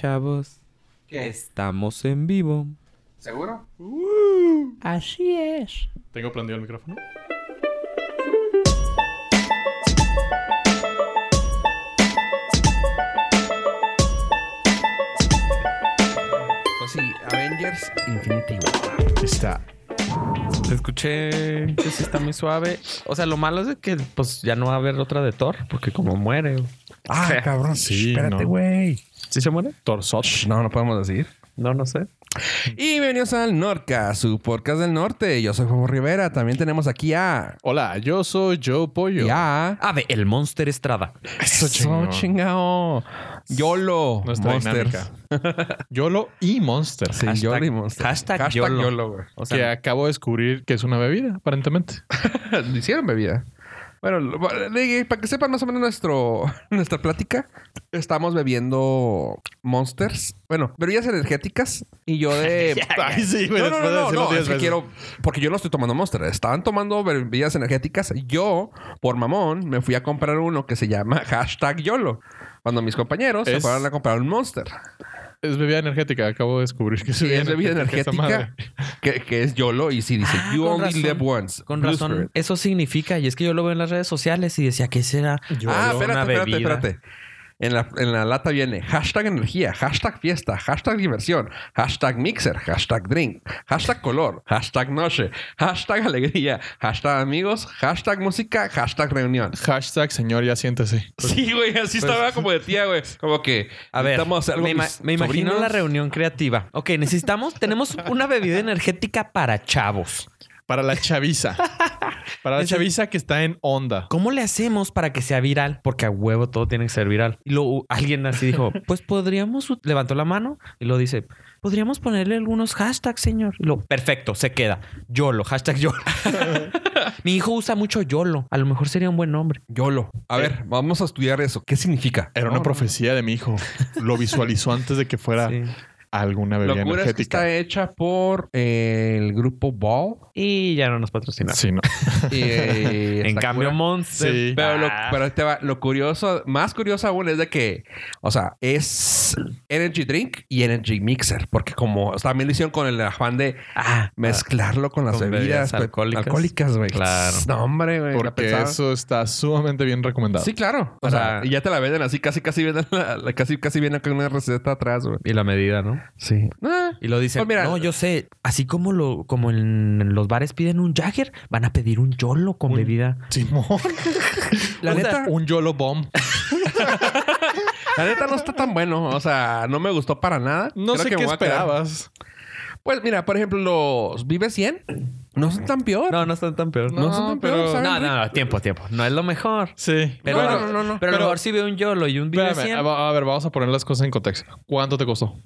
Pichavos. ¿Qué? Estamos en vivo. ¿Seguro? Así es. Tengo prendido el micrófono. Pues sí, Avengers Infinity War. Está. Escuché que sí está muy suave. O sea, lo malo es de que pues ya no va a haber otra de Thor, porque como muere. Ah, Fea. cabrón. Sí, Espérate, no. güey. ¿Sí se muere? Torsot. No, no podemos decir. No, no sé. Y bienvenidos al Norca, su podcast del norte. Yo soy Juan Rivera. También tenemos aquí a. Hola, yo soy Joe Pollo. Y a. Ave, el Monster Estrada. Eso chingado. YOLO. Nuestra Monsters. dinámica. YOLO y Monster. Sí, Hashtag- YOLO y Monsters. hashtag YOLO. güey. O que sea, acabo de descubrir que es una bebida, aparentemente. Lo hicieron bebida. Bueno, lo- le- para que sepan más o menos nuestro, nuestra plática, estamos bebiendo Monsters. Bueno, bebidas energéticas. Y yo de... Ay, sí, güey, No, no, no, después de no, decirlo no, diez es que veces. quiero... Porque yo no estoy tomando Monster. Estaban tomando bebidas energéticas. Yo, por mamón, me fui a comprar uno que se llama hashtag YOLO. Cuando mis compañeros se Es- fueron a comprar un Monster. Es bebida energética, acabo de descubrir que es Sí, bebida es bebida energética esa energética madre. que, que es YOLO y sí dice Ah, You con only razón. live once. Con Blue razón, Spirit. eso significa, y es que yo lo veo en las redes sociales y decía, ¿qué será? ah, Una espérate, espérate, bebida. espérate. En la, en la lata viene hashtag energía, hashtag fiesta, hashtag diversión, hashtag mixer, hashtag drink, hashtag color, hashtag noche, hashtag alegría, hashtag amigos, hashtag música, hashtag reunión. Pues, Hashtag señor, ya siéntese. sí, güey, así estaba como de tía, güey. Como que A ver, necesitamos algo me, ima- mis me imagino sobrinos. la reunión creativa. Ok, necesitamos, tenemos una bebida energética para chavos. Para la chaviza. Para la Ese- chaviza que está en onda. ¿Cómo le hacemos para que sea viral? Porque a huevo todo tiene que ser viral. Y luego alguien así dijo, pues podríamos, ut- levantó la mano y lo dice, podríamos ponerle algunos hashtags, señor. Y lo, perfecto, se queda. YOLO, hashtag YOLO. Mi hijo usa mucho YOLO. A lo mejor sería un buen nombre. YOLO. A ver, vamos a estudiar eso. ¿Qué significa? Era una No, profecía de mi hijo. Lo visualizó antes de que fuera Sí. alguna no. bebida Locura es que energética. está hecha por eh, el grupo Ball. Y ya no nos patrocina. Sí, no. Y, eh, en está cambio, cura. Monster. Sí. Pero, lo, Ah. pero ahí te va. lo curioso, más curioso aún es de que, o sea, es Energy Drink y Energy Mixer, porque como o sea, también lo hicieron con el afán de Ah, mezclarlo con las Con bebidas bebidas, pe- alcohólicas. alcohólicas, güey. Claro. No, hombre, güey. la Porque pensaba. eso está sumamente bien recomendado. Sí, claro. O Para- sea, y ya te la venden así, casi, casi vienen, la- la- casi, casi vienen con una receta atrás, güey. y la medida, ¿no? Sí. Ah, Y lo dicen, Pues mira- no, yo sé, así como lo, como en los bares piden un Jagger, van a pedir un Yolo con Un- bebida. Simón. la O sea, neta, Un YOLO bomb. la neta no está tan bueno. O sea, no me gustó para nada. No Creo sé que me qué voy a quedar- esperabas. Pues mira, por ejemplo, los Vive 100 no son tan peor. no están tan peor. No, son tan pero- peor, saben No, rico. no, no, tiempo, tiempo. No es lo mejor. Sí. Pero, No, no, no, no. pero a Pero- lo mejor si ve un YOLO y un video Espérame, ah, a a ver, vamos a poner las cosas en contexto. ¿Cuánto te costó?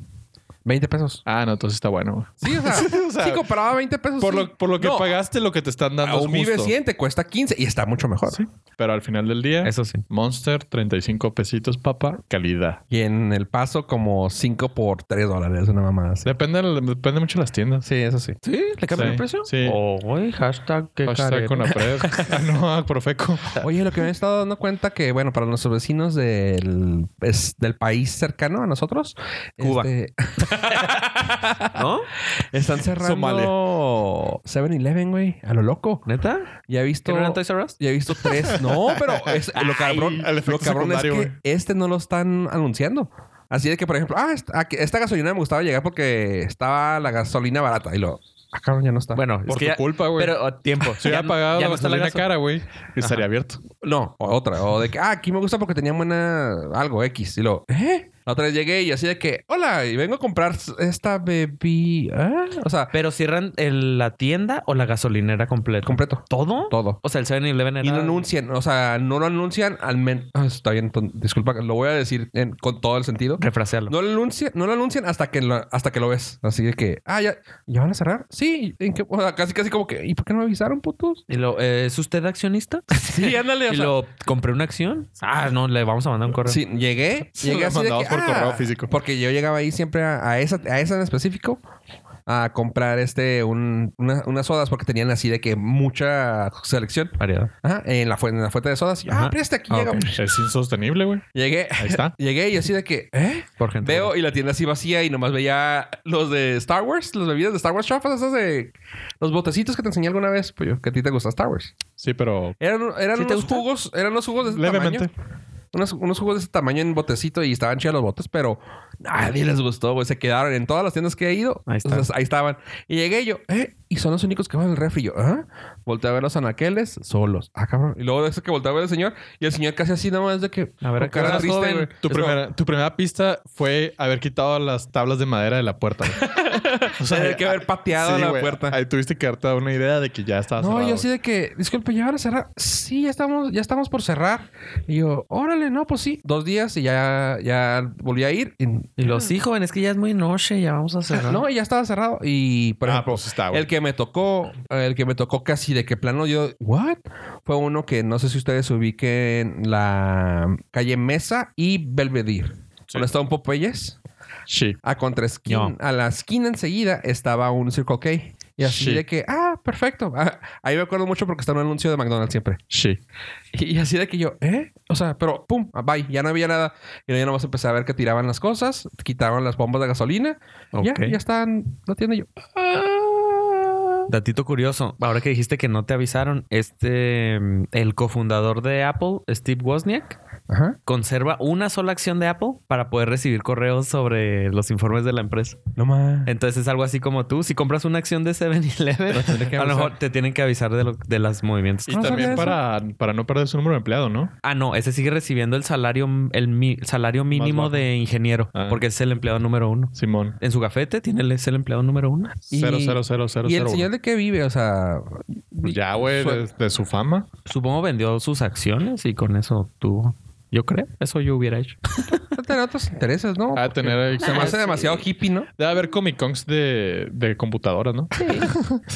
20 pesos. Ah, no, entonces está bueno. Sí, o sea, O sea, sí compraba 20 pesos. Por sí. lo, por lo que No, pagaste, lo que te están A dando es un justo. Vive 100 te cuesta 15 y está mucho mejor. Sí. Pero al final del día, Eso sí. Monster, 35 pesitos, papá. Calidad. Y en El Paso como 5 por 3 dólares, una mamada así. Depende, depende mucho de las tiendas. Sí, eso sí. ¿Sí? ¿Le cambió Sí, el precio? sí. Oh, güey, hashtag qué careta. Hashtag con Ah, no, a Profeco. Oye, lo que me he estado dando cuenta que, bueno, para nuestros vecinos del, es- del país cercano a nosotros, Cuba. este, ¿No? están cerrando 7-Eleven, güey, a lo loco. ¿Neta? Ya he visto. ¿Que no eran Toys R Us? Ya he visto tres. No, pero es- lo cabrón, el efecto lo cabrón es que secundario, güey. este no lo están anunciando. Así de que, por ejemplo, ah, esta, aquí- esta gasolina me gustaba llegar porque estaba la gasolina barata. Y lo, ah, cabrón, ya no está. Bueno, es Por que tu ya- culpa, güey. Pero oh, tiempo. Si hubiera Ya- pagado ya la no está la gasolina gaso- cara, güey, estaría abierto. no, o otra. O de que, ah, aquí me gusta porque tenían buena algo X. Y lo, ¿eh? La otra vez llegué y así de que, hola, y vengo a comprar esta bebida. ¿Ah? O sea, Pero cierran el- la tienda o la gasolinera completa. completo. ¿Todo? Todo. O sea, el 7-Eleven era... Y no anuncian, o sea, no lo anuncian al menos. Está bien, ton- disculpa, lo voy a decir en- con todo el sentido. Refrasearlo. No lo anuncian, no lo anuncian hasta que lo, hasta que lo ves. Así de que, ah, ya, ¿ya van a cerrar. Sí, ¿en qué? O sea, casi casi como que, ¿y por qué no me avisaron, putos? Y lo, eh, ¿Es usted accionista? Sí, ándale, o y sea- lo compré una acción. Ah, no, le vamos a mandar un correo. Sí, llegué, Se llegué lo así de que, "Ah", mandamos por correo físico. Porque yo llegaba ahí siempre a, a esa a esa en específico a comprar este un- una- unas sodas porque tenían así de que mucha selección. Variedad. Ajá, en la, fuente, en la fuente de sodas. Y yo, Ajá. ah, mira, este aquí Ah, llega. ok. Es insostenible, güey. Llegué. Ahí está. Llegué y así de que, ¿eh? Por gente. Veo y la tienda así vacía y nomás veía los de Star Wars, las bebidas de Star Wars chafas, esas de los botecitos que te enseñé alguna vez, pues yo, que a ti te gusta Star Wars. Sí, pero Eran, eran ¿Sí te unos gusta? jugos, eran unos jugos de ese levemente. tamaño. Unos, unos jugos de ese tamaño en botecito y estaban chidos los botes, pero nadie les gustó, güey. Se quedaron en todas las tiendas que he ido. Ahí están. ahí estaban. Y llegué y yo, ¿eh? Y son los únicos que van al refri. Yo, ¿ah? Volteé a ver los anaqueles solos. Ah, cabrón. Y luego de eso que volteé a ver al señor y el señor casi así nomás de que. A ver, con acá era joven. güey. Tu Es como, primera, tu primera pista fue haber quitado las tablas de madera de la puerta. güey. O Tener que haber ah, pateado sí, la güey. puerta. Ahí tuviste que darte una idea de que ya estaba No, cerrado, yo güey. así de que, disculpe, ¿ya van a cerrar? Sí, ya estamos, ya estamos por cerrar. Y yo, órale, no, pues sí. Dos días y ya, ya volví a ir. Y, Y los hijos, es que ya es muy noche, ya vamos a cerrar. no, y ya estaba cerrado. Y, por Ah, ejemplo, pues está, güey. el que me tocó, el que me tocó casi de que plano yo, ¿what? Fue uno que no sé si ustedes ubiquen la calle Mesa y Belvedere. Sí. Donde está un Popeyes. Sí. A contraesquina, No. a la esquina enseguida estaba un Circle K. Y así Sí. de que, ah, perfecto. Ah, ahí me acuerdo mucho porque está un anuncio de McDonald's siempre. Sí. Y, y así de que yo, ¿eh? O sea, pero pum, ah, bye, ya no había nada. Y luego ya nomás empecé a ver que tiraban las cosas, quitaban las bombas de gasolina. y Ya, Ok. ya están la tienda y yo. Datito curioso. Ahora que dijiste que no te avisaron, este, mm, el cofundador de Apple, Steve Wozniak, Ajá. conserva una sola acción de Apple para poder recibir correos sobre los informes de la empresa. No más. Entonces es algo así como tú, si compras una acción de 7-Eleven, Pero tendré que a lo mejor avisar. te tienen que avisar de, lo- de los movimientos. Y ¿Cómo también sabía para, para no perder su número de empleado, ¿no? Ah, no, ese sigue recibiendo el salario, el, mi- el salario mínimo bajo. de ingeniero, Ah. porque es el empleado número uno. Simón. En su gafete tiene el, es el empleado número uno. Y- Cero, cero, cero, cero, ¿Y el cero, señor güey. de qué vive? O sea. Pues Ya, güey, su- de, de su fama. Supongo vendió sus acciones y con eso tuvo. Yo creo, eso yo hubiera hecho. No tener otros intereses, ¿no? Ah, Ha de tener ahí- Se pues me hace demasiado hippie, ¿no? Debe haber Comic Cons de, de computadoras, ¿no?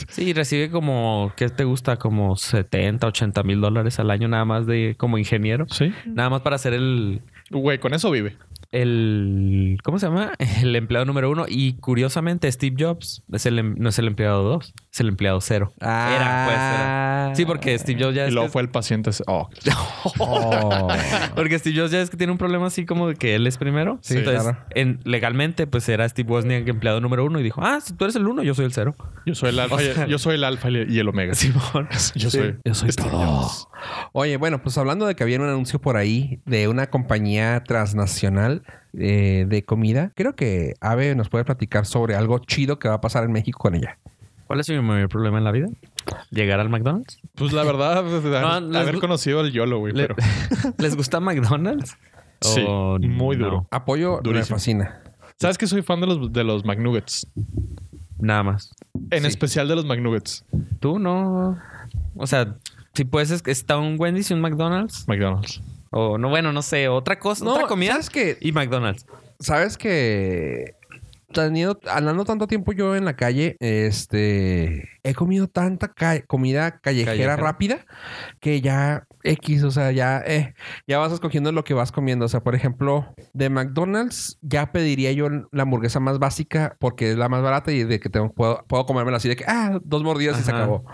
Sí, recibe como, ¿qué te gusta? Como 70, 80 mil dólares al año nada más de como ingeniero. Sí. Nada más para hacer el, Güey, con eso vive. el ¿cómo se llama? El empleado número uno. Y curiosamente, Steve Jobs es el, em- no es el empleado dos, es el empleado cero. Era, pues, era. Ah. Sí, porque Steve Jobs ya Y es luego que- fue el paciente. ese- Oh, Oh. porque Steve Jobs ya es que tiene un problema así como de que él es primero. Sí, Entonces, claro. en, legalmente, pues era Steve Wozniak empleado número uno y dijo, ah, si tú eres el uno, yo soy el cero. yo soy el alfa, y, yo soy el alfa y el omega. Simón. Yo soy. este Yo soy todo. Oye, bueno, pues hablando de que había un anuncio por ahí de una compañía transnacional eh, de comida, creo que Ave nos puede platicar sobre algo chido que va a pasar en México con ella. ¿Cuál es mi mayor problema en la vida? ¿Llegar al McDonald's? Pues la verdad, pues, de No, haber, les haber gu- conocido al YOLO, güey. Le- Pero ¿Les gusta McDonald's? Sí, ¿O muy no? duro. Apoyo me Durísimo. fascina. ¿Sabes que soy fan de los, de los McNuggets? Nada más. En Sí. especial de los McNuggets. Tú no. O sea, si puedes, es- está un Wendy's y un McDonald's. McDonald's. O no, bueno, no sé, otra cosa, otra comida ¿sabes que y McDonald's. sabes que teniendo- andando tanto tiempo yo en la calle, este he comido tanta ca- comida callejera, Callejera. rápida que ya X, o sea, ya eh, ya vas escogiendo lo que vas comiendo, o sea, por ejemplo, de McDonald's ya pediría yo la hamburguesa más básica porque es la más barata y de que tengo puedo, puedo comérmela así de que ah, dos mordidas y se Ajá. acabó.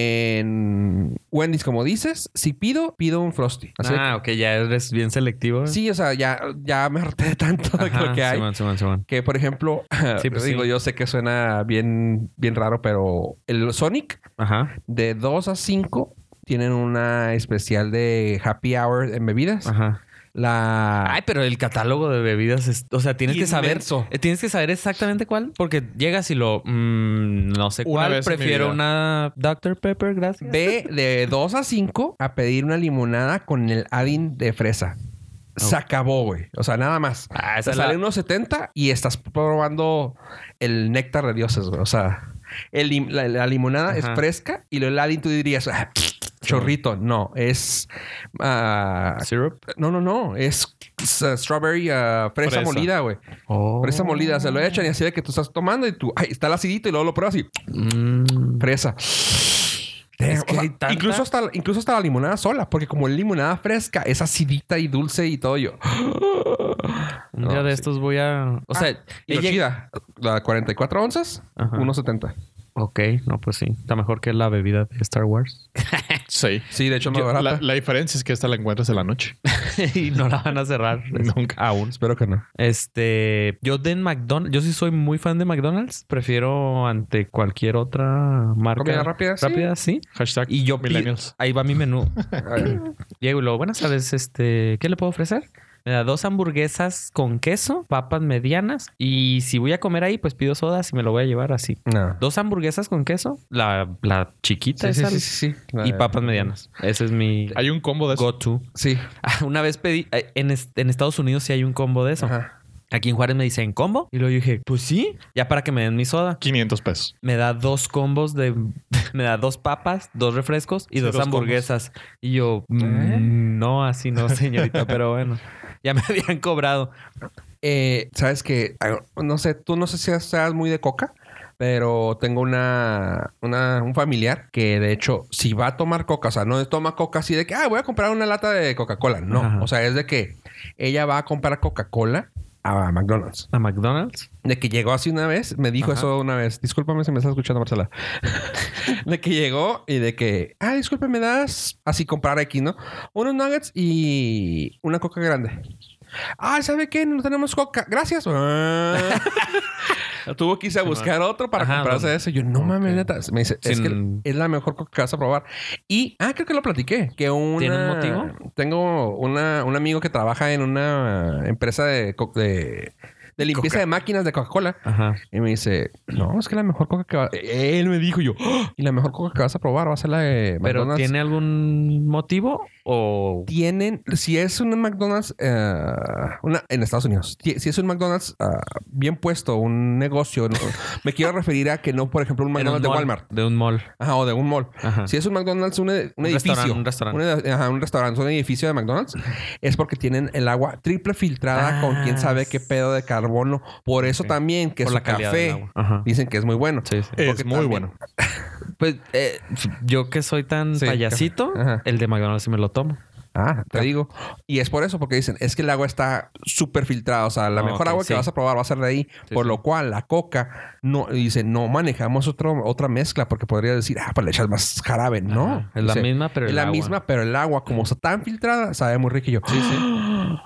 En Wendy's, como dices, si pido, pido un Frosty. Así de ah, ok, ya eres bien selectivo. eh. Sí, o sea, ya, ya me harté de tanto de Ajá, lo que hay. Simón, Simón, Simón. Que, por ejemplo, Sí, pues digo, sí. yo sé que suena bien, bien raro, pero el Sonic Ajá, de 2 a 5 tienen una especial de happy hour en bebidas. ajá. La... Ah. Ay, pero el catálogo de bebidas, es- o sea, tienes que Inmenso. saber, eh, tienes que saber exactamente cuál, porque llegas y lo, mm, no sé Una cuál, vez en mi prefiero vida. una Dr Pepper, gracias. Ve de 2 a 5 a pedir una limonada con el adin de fresa. Se acabó, güey. O sea, nada más. Ah, esa Te es la- sale unos 70 y estás probando el néctar de dioses, güey. O sea, el lim- la, la limonada Ajá. es fresca y lo heladín tú dirías, "Ah, chorrito. No, es... ah, Syrup. no, no, no. Es s- strawberry ah, fresa, Fresa. molida, güey. Fresa molida. Se lo echan y así de que tú estás tomando y tú... Ay, está el acidito y luego lo pruebas y... Mm. Fresa. Damn, Es que o sea, hay tanta- incluso, hasta, incluso hasta la limonada sola, porque como es limonada fresca, es acidita y dulce y todo yo. Un No, día de sí. estos voy a. O sea, Ah, Y la ella- chida, la 44 onzas, Ajá. 1.70. Ok, no, pues sí. Está mejor que la bebida de Star Wars. Sí. Sí, de hecho, más Yo- barata. la, la diferencia es que esta la encuentras en la noche. y no la van a cerrar. Nunca. Aún. Espero que no. Este, yo de McDonald's, yo sí soy muy fan de McDonald's. Prefiero ante cualquier otra marca. Comida rápida, sí. Rápida, sí. Hashtag Y yo pi- millennials. Ahí va mi menú. A ver, Diego, y luego, buenas tardes. Este, ¿qué le puedo ofrecer? Me da dos hamburguesas con queso, papas medianas. Y si voy a comer ahí, pues pido sodas y me lo voy a llevar así. No. Dos hamburguesas con queso, la, la chiquita Sí, sí, esa, sí, sí, sí. y papas medianas. Ese es mi Hay un combo de eso. go-to. Sí. Ah, Una vez pedí, eh, en, est- en Estados Unidos sí hay un combo de eso. Ajá. Aquí en Juárez me dicen combo. Y luego yo dije, pues sí, ya para que me den mi soda. 500 pesos. Me da dos combos de. Me da dos papas, dos refrescos y Sí, dos, dos hamburguesas. Y yo, mm, ¿Eh? no, así no, señorita, pero bueno. Ya me habían cobrado. Eh, Sabes que, no sé, tú no sé si seas muy de coca, pero tengo una, una, un familiar que de hecho, si va a tomar coca, o sea, no toma coca así de que, ah, voy a comprar una lata de Coca-Cola. No, Ajá. o sea, es de que ella va a comprar Coca-Cola a McDonald's. A McDonald's. De que llegó así una vez, me dijo Ajá. eso una vez. Discúlpame si me estás escuchando, Marcela. de que llegó y de que, ah, disculpe, me das así comprar aquí, ¿no? Unos nuggets y una coca grande. Ah, ¿sabe qué? No tenemos coca. Gracias. Ah. Tuvo que irse a buscar otro para Ajá, comprarse ¿dónde? eso. Yo, no mames, neta. Me dice, es Sin- que es la mejor coca que vas a probar. Y, ah, creo que lo platiqué. Que una... ¿Tiene un motivo? Tengo una, un amigo que trabaja en una empresa de... co- de de limpieza de máquinas de Coca-Cola. Ajá. Y me dice, no, es que la mejor coca que va... Él me dijo yo, "Ah, y la mejor coca que vas a probar va a ser la de Pero McDonald's. ¿tiene algún motivo o.? Tienen, si es un McDonald's, eh, una, en Estados Unidos, ti- si es un McDonald's eh, bien puesto, un negocio, no- me quiero referir a que no, por ejemplo, un en un McDonald's de mall? Walmart. De un mall. Ajá, o de un mall. Ajá. Si es un McDonald's, un, ed- un Un edificio. restaurante, un restaurante. ed- ajá, un restaurante, un edificio de McDonald's. Es porque tienen el agua triple filtrada con Ah, quién sabe qué pedo de carbono. Por eso Ok. también que Por su la calidad del café agua. Ajá. dicen que es muy bueno. Sí, sí. Es Porque muy también- bueno. Pues eh, yo que soy tan Sí, payasito, café. Ajá. el de McDonald's sí me lo tomo. Ah, te digo. Y es por eso, porque dicen, es que el agua está súper filtrada. O sea, la Ah, mejor ok, agua sí. que vas a probar va a ser de ahí. Sí, por sí. lo cual, la coca, no, dice, no manejamos otro, otra mezcla, porque podría decir, ah, pues le echas más jarabe. No. Ajá. Es la Dice, misma, pero Es el la agua. misma, pero el agua, como está tan filtrada, sabe muy rico. Y yo, sí,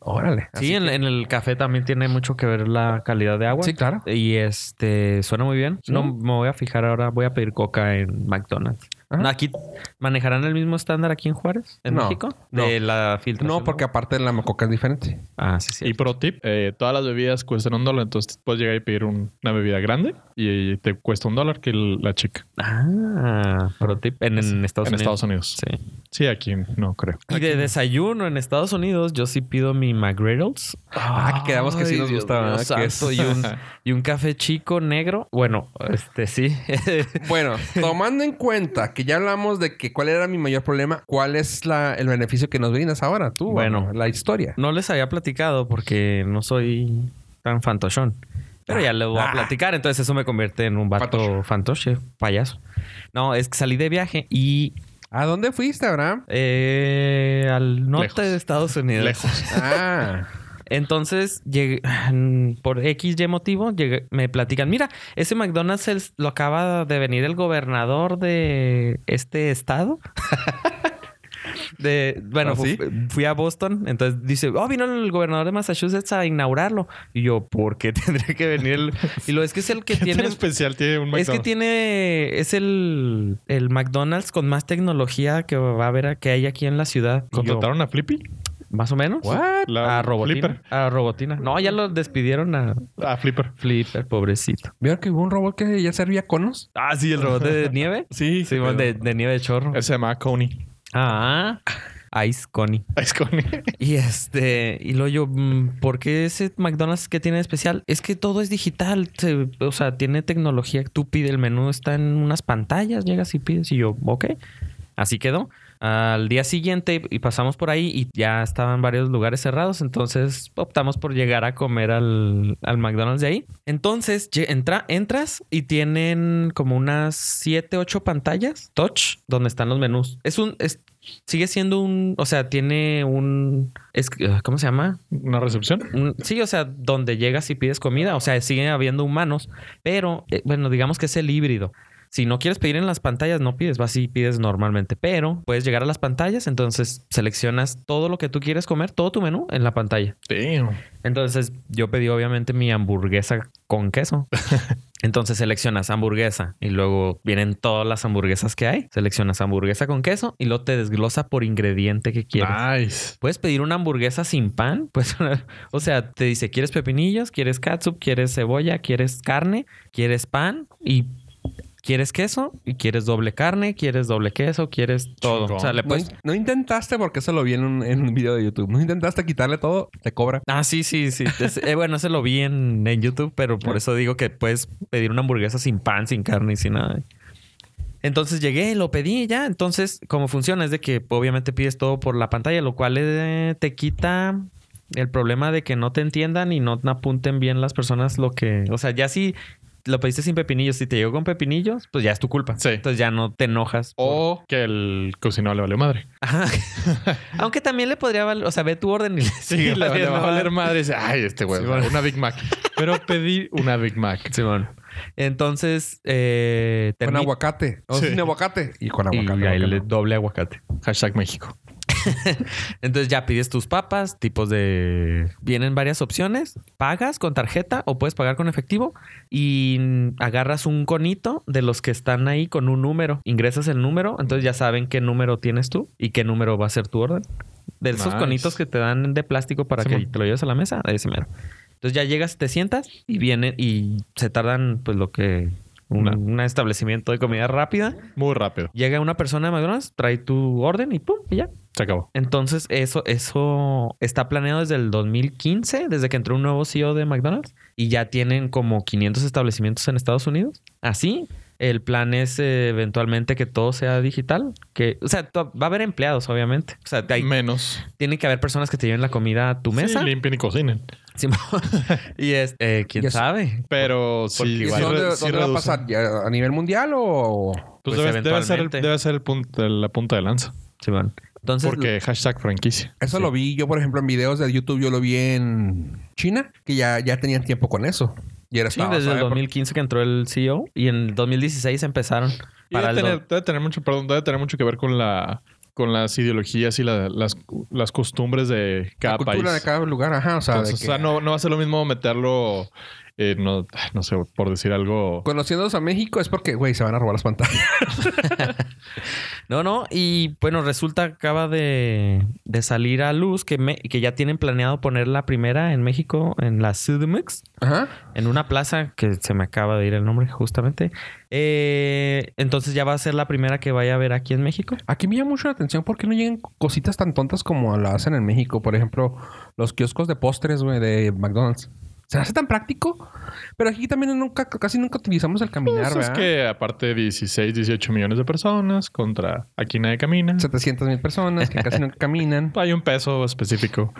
Órale. Sí, en, en el café también tiene mucho que ver la calidad de agua. Sí, claro. Y este suena muy bien. No me voy a fijar ahora, voy a pedir coca en McDonald's. Ajá. No, Aquí manejarán el mismo estándar aquí en Juárez, en No, México, no. de la filtración. No, porque aparte la coca es diferente. ah, sí, sí. Y pro tip, eh, todas las bebidas cuestan un dólar, entonces puedes llegar y pedir un- una bebida grande y te cuesta un dólar que el- la chica Ah, pro tip en, en Estados en Unidos. Estados Unidos. Sí. Sí. aquí no creo. Y de desayuno en Estados Unidos, yo sí pido mi McGriddles. Ah, que quedamos que sí Ay, nos Dios gusta, mío ¿verdad? Que es- santo, y, un, y un café chico negro. Bueno, este sí. Bueno, tomando en cuenta que ya hablamos de que cuál era mi mayor problema, ¿cuál es la- el beneficio que nos brindas ahora tú? Bueno. Ana? la historia. No les había platicado porque no soy tan fantochón. Pero ya lo voy a Ah. platicar, entonces eso me convierte en un vato Fantoche. fantoche, payaso. No, es que salí de viaje y ¿A dónde fuiste, Abraham? eh, al norte Lejos. de Estados Unidos. Lejos. Ah, Entonces, llegué, por X, Y motivo, llegué- me platican, mira, ese McDonald's el- lo acaba de venir el gobernador de este estado. De, bueno, ¿Ah, fu- sí? fui, a Boston, entonces dice, oh, vino el gobernador de Massachusetts a inaugurarlo. Y yo, ¿por qué tendría que venir el...? Y lo es que es el que ¿Qué tiene... tan especial tiene un Es que McDonald's? tiene... Es el, el McDonald's con más tecnología que va a haber a- que hay aquí en la ciudad. Y yo, ¿Contrataron a Flippy? más o menos. La a Robotina. Ah, Flipper. A Robotina. No, ya lo despidieron a A Flipper. Flipper, pobrecito. ¿vieron que hubo un robot que ya servía conos? Ah, sí, el robot de nieve. Sí. Sí, pero- de, de nieve de chorro. Ese se llamaba Coney. Ah, Ice Connie. Es Coney. Y este, y luego yo, mm, ¿por qué ese McDonald's que tiene de especial? Es que todo es digital, se- o sea, tiene tecnología. Tú pides el menú, está en unas pantallas, llegas y pides, y yo, ok, así quedó. Al día siguiente y pasamos por ahí y ya estaban varios lugares cerrados, entonces optamos por llegar a comer al, al McDonald's de ahí. Entonces lle- entra, entras y tienen como unas 7, 8 pantallas touch donde están los menús. Es un... es- sigue siendo un... O sea, tiene un... es- ah, ¿Cómo se llama? Una recepción. Un- Sí, o sea, donde llegas y pides comida, o sea, siguen habiendo humanos, pero eh, bueno, digamos que es el híbrido. Si no quieres pedir en las pantallas, no pides, vas y pides normalmente, pero puedes llegar a las pantallas, entonces seleccionas todo lo que tú quieres comer, todo tu menú en la pantalla. Damn. Entonces yo pedí obviamente mi hamburguesa con queso. Entonces seleccionas hamburguesa y luego vienen todas las hamburguesas que hay. Seleccionas hamburguesa con queso y luego te desglosa por ingrediente que quieres. Nice. Puedes pedir una hamburguesa sin pan, pues, o sea, te dice, ¿quieres pepinillos? ¿Quieres catsup? ¿Quieres cebolla? ¿Quieres carne? ¿Quieres pan? ¿Y quieres queso? ¿Y quieres doble carne? ¿Quieres doble queso? ¿Quieres todo? Chingón. O sea, le No, puedes... in- pues, no intentaste, porque eso lo vi en un, en un video de YouTube. No intentaste quitarle todo, te cobra. Ah, sí, sí, sí. Es- eh, bueno, ese lo vi en, en YouTube, pero Ah. por eso digo que puedes pedir una hamburguesa sin pan, sin carne y sin nada. Entonces llegué, lo pedí ya. Entonces, como funciona es de que obviamente pides todo por la pantalla, lo cual eh, te quita el problema de que no te entiendan y no apunten bien las personas lo que... O sea, ya si lo pediste sin pepinillos, si te llegó con pepinillos, pues ya es tu culpa. Sí. Oh. Entonces ya no te enojas. O que el cocinado le valió madre. Ajá. Aunque también le podría valer... O sea, ve tu orden y le, Y sí, le, le va a valer más. madre. y dice, Ay, este güey. Sí, vale, bueno. Una Big Mac. Pero pedí una Big Mac. Simón. Entonces, eh, Con termi- aguacate. O Sí. sin aguacate. Y con y aguacate. ahí aguacate. le doble aguacate. Hashtag México. Entonces ya pides tus papas, tipos de... Vienen varias opciones. Pagas con tarjeta o puedes pagar con efectivo y agarras un conito de los que están ahí con un número. Ingresas el número, entonces ya saben qué número tienes tú y qué número va a ser tu orden. De esos Nice. conitos que te dan de plástico para que Simón. te lo lleves a la mesa, ese mero. Entonces ya llegas, te sientas y vienen y se tardan pues lo que... un- Una- un establecimiento de comida rápida. Muy rápido. Llega una persona de McDonald's, trae tu orden y pum, y ya. Se acabó. Entonces, eso, eso está planeado desde el 2015, desde que entró un nuevo CEO de McDonald's y ya tienen como 500 establecimientos en Estados Unidos. Así, el plan es eh, eventualmente que todo sea digital, que, o sea, to- va a haber empleados, obviamente. O sea, hay- Menos. tiene que haber personas que te lleven la comida a tu Sí, mesa. limpien y cocinen. Simón. y es, eh, quién Ya sé. sabe. Pero Porque sí, ¿Y sí igual- dónde, re- sí dónde va a reducen. pasar? ¿Ya ¿A nivel mundial o...? Pues, Pues debe, debe ser, eventualmente. debe ser el punto- la punta de lanza. Simón. Entonces, Porque hashtag franquicia. Eso Sí. lo vi yo, por ejemplo, en videos de YouTube. Yo lo vi en China, que ya, ya tenían tiempo con eso. Y era sí, estaba, desde el ¿sabe? 2015 que entró el CEO y en el 2016 empezaron. Y debe, Para el do- tener, debe tener mucho, perdón, debe tener mucho que ver con la con las ideologías y la- las, las costumbres de cada la cultura país. de cada lugar, ajá. O sea, de Entonces, que- o sea, no, no va a ser lo mismo meterlo, eh, no, no sé, por decir algo. Conociéndonos a México es porque, güey, se van a robar las pantallas. No, no, y bueno, resulta que acaba de, de salir a luz que, me- que ya tienen planeado poner la primera en México, en la CDMX, Ajá. en una plaza que se me acaba de ir el nombre justamente. Eh, entonces ya va a ser la primera que vaya a ver aquí en México. Aquí me llama mucho la atención por qué no llegan cositas tan tontas como la hacen en México. Por ejemplo, los kioscos de postres, güey, de McDonald's. Se hace tan práctico, pero aquí también nunca, casi nunca utilizamos el caminar, Pues es ¿verdad? que aparte 16, 18 millones de personas contra aquí nadie camina. 700 mil personas que casi nunca caminan. Hay un peso específico.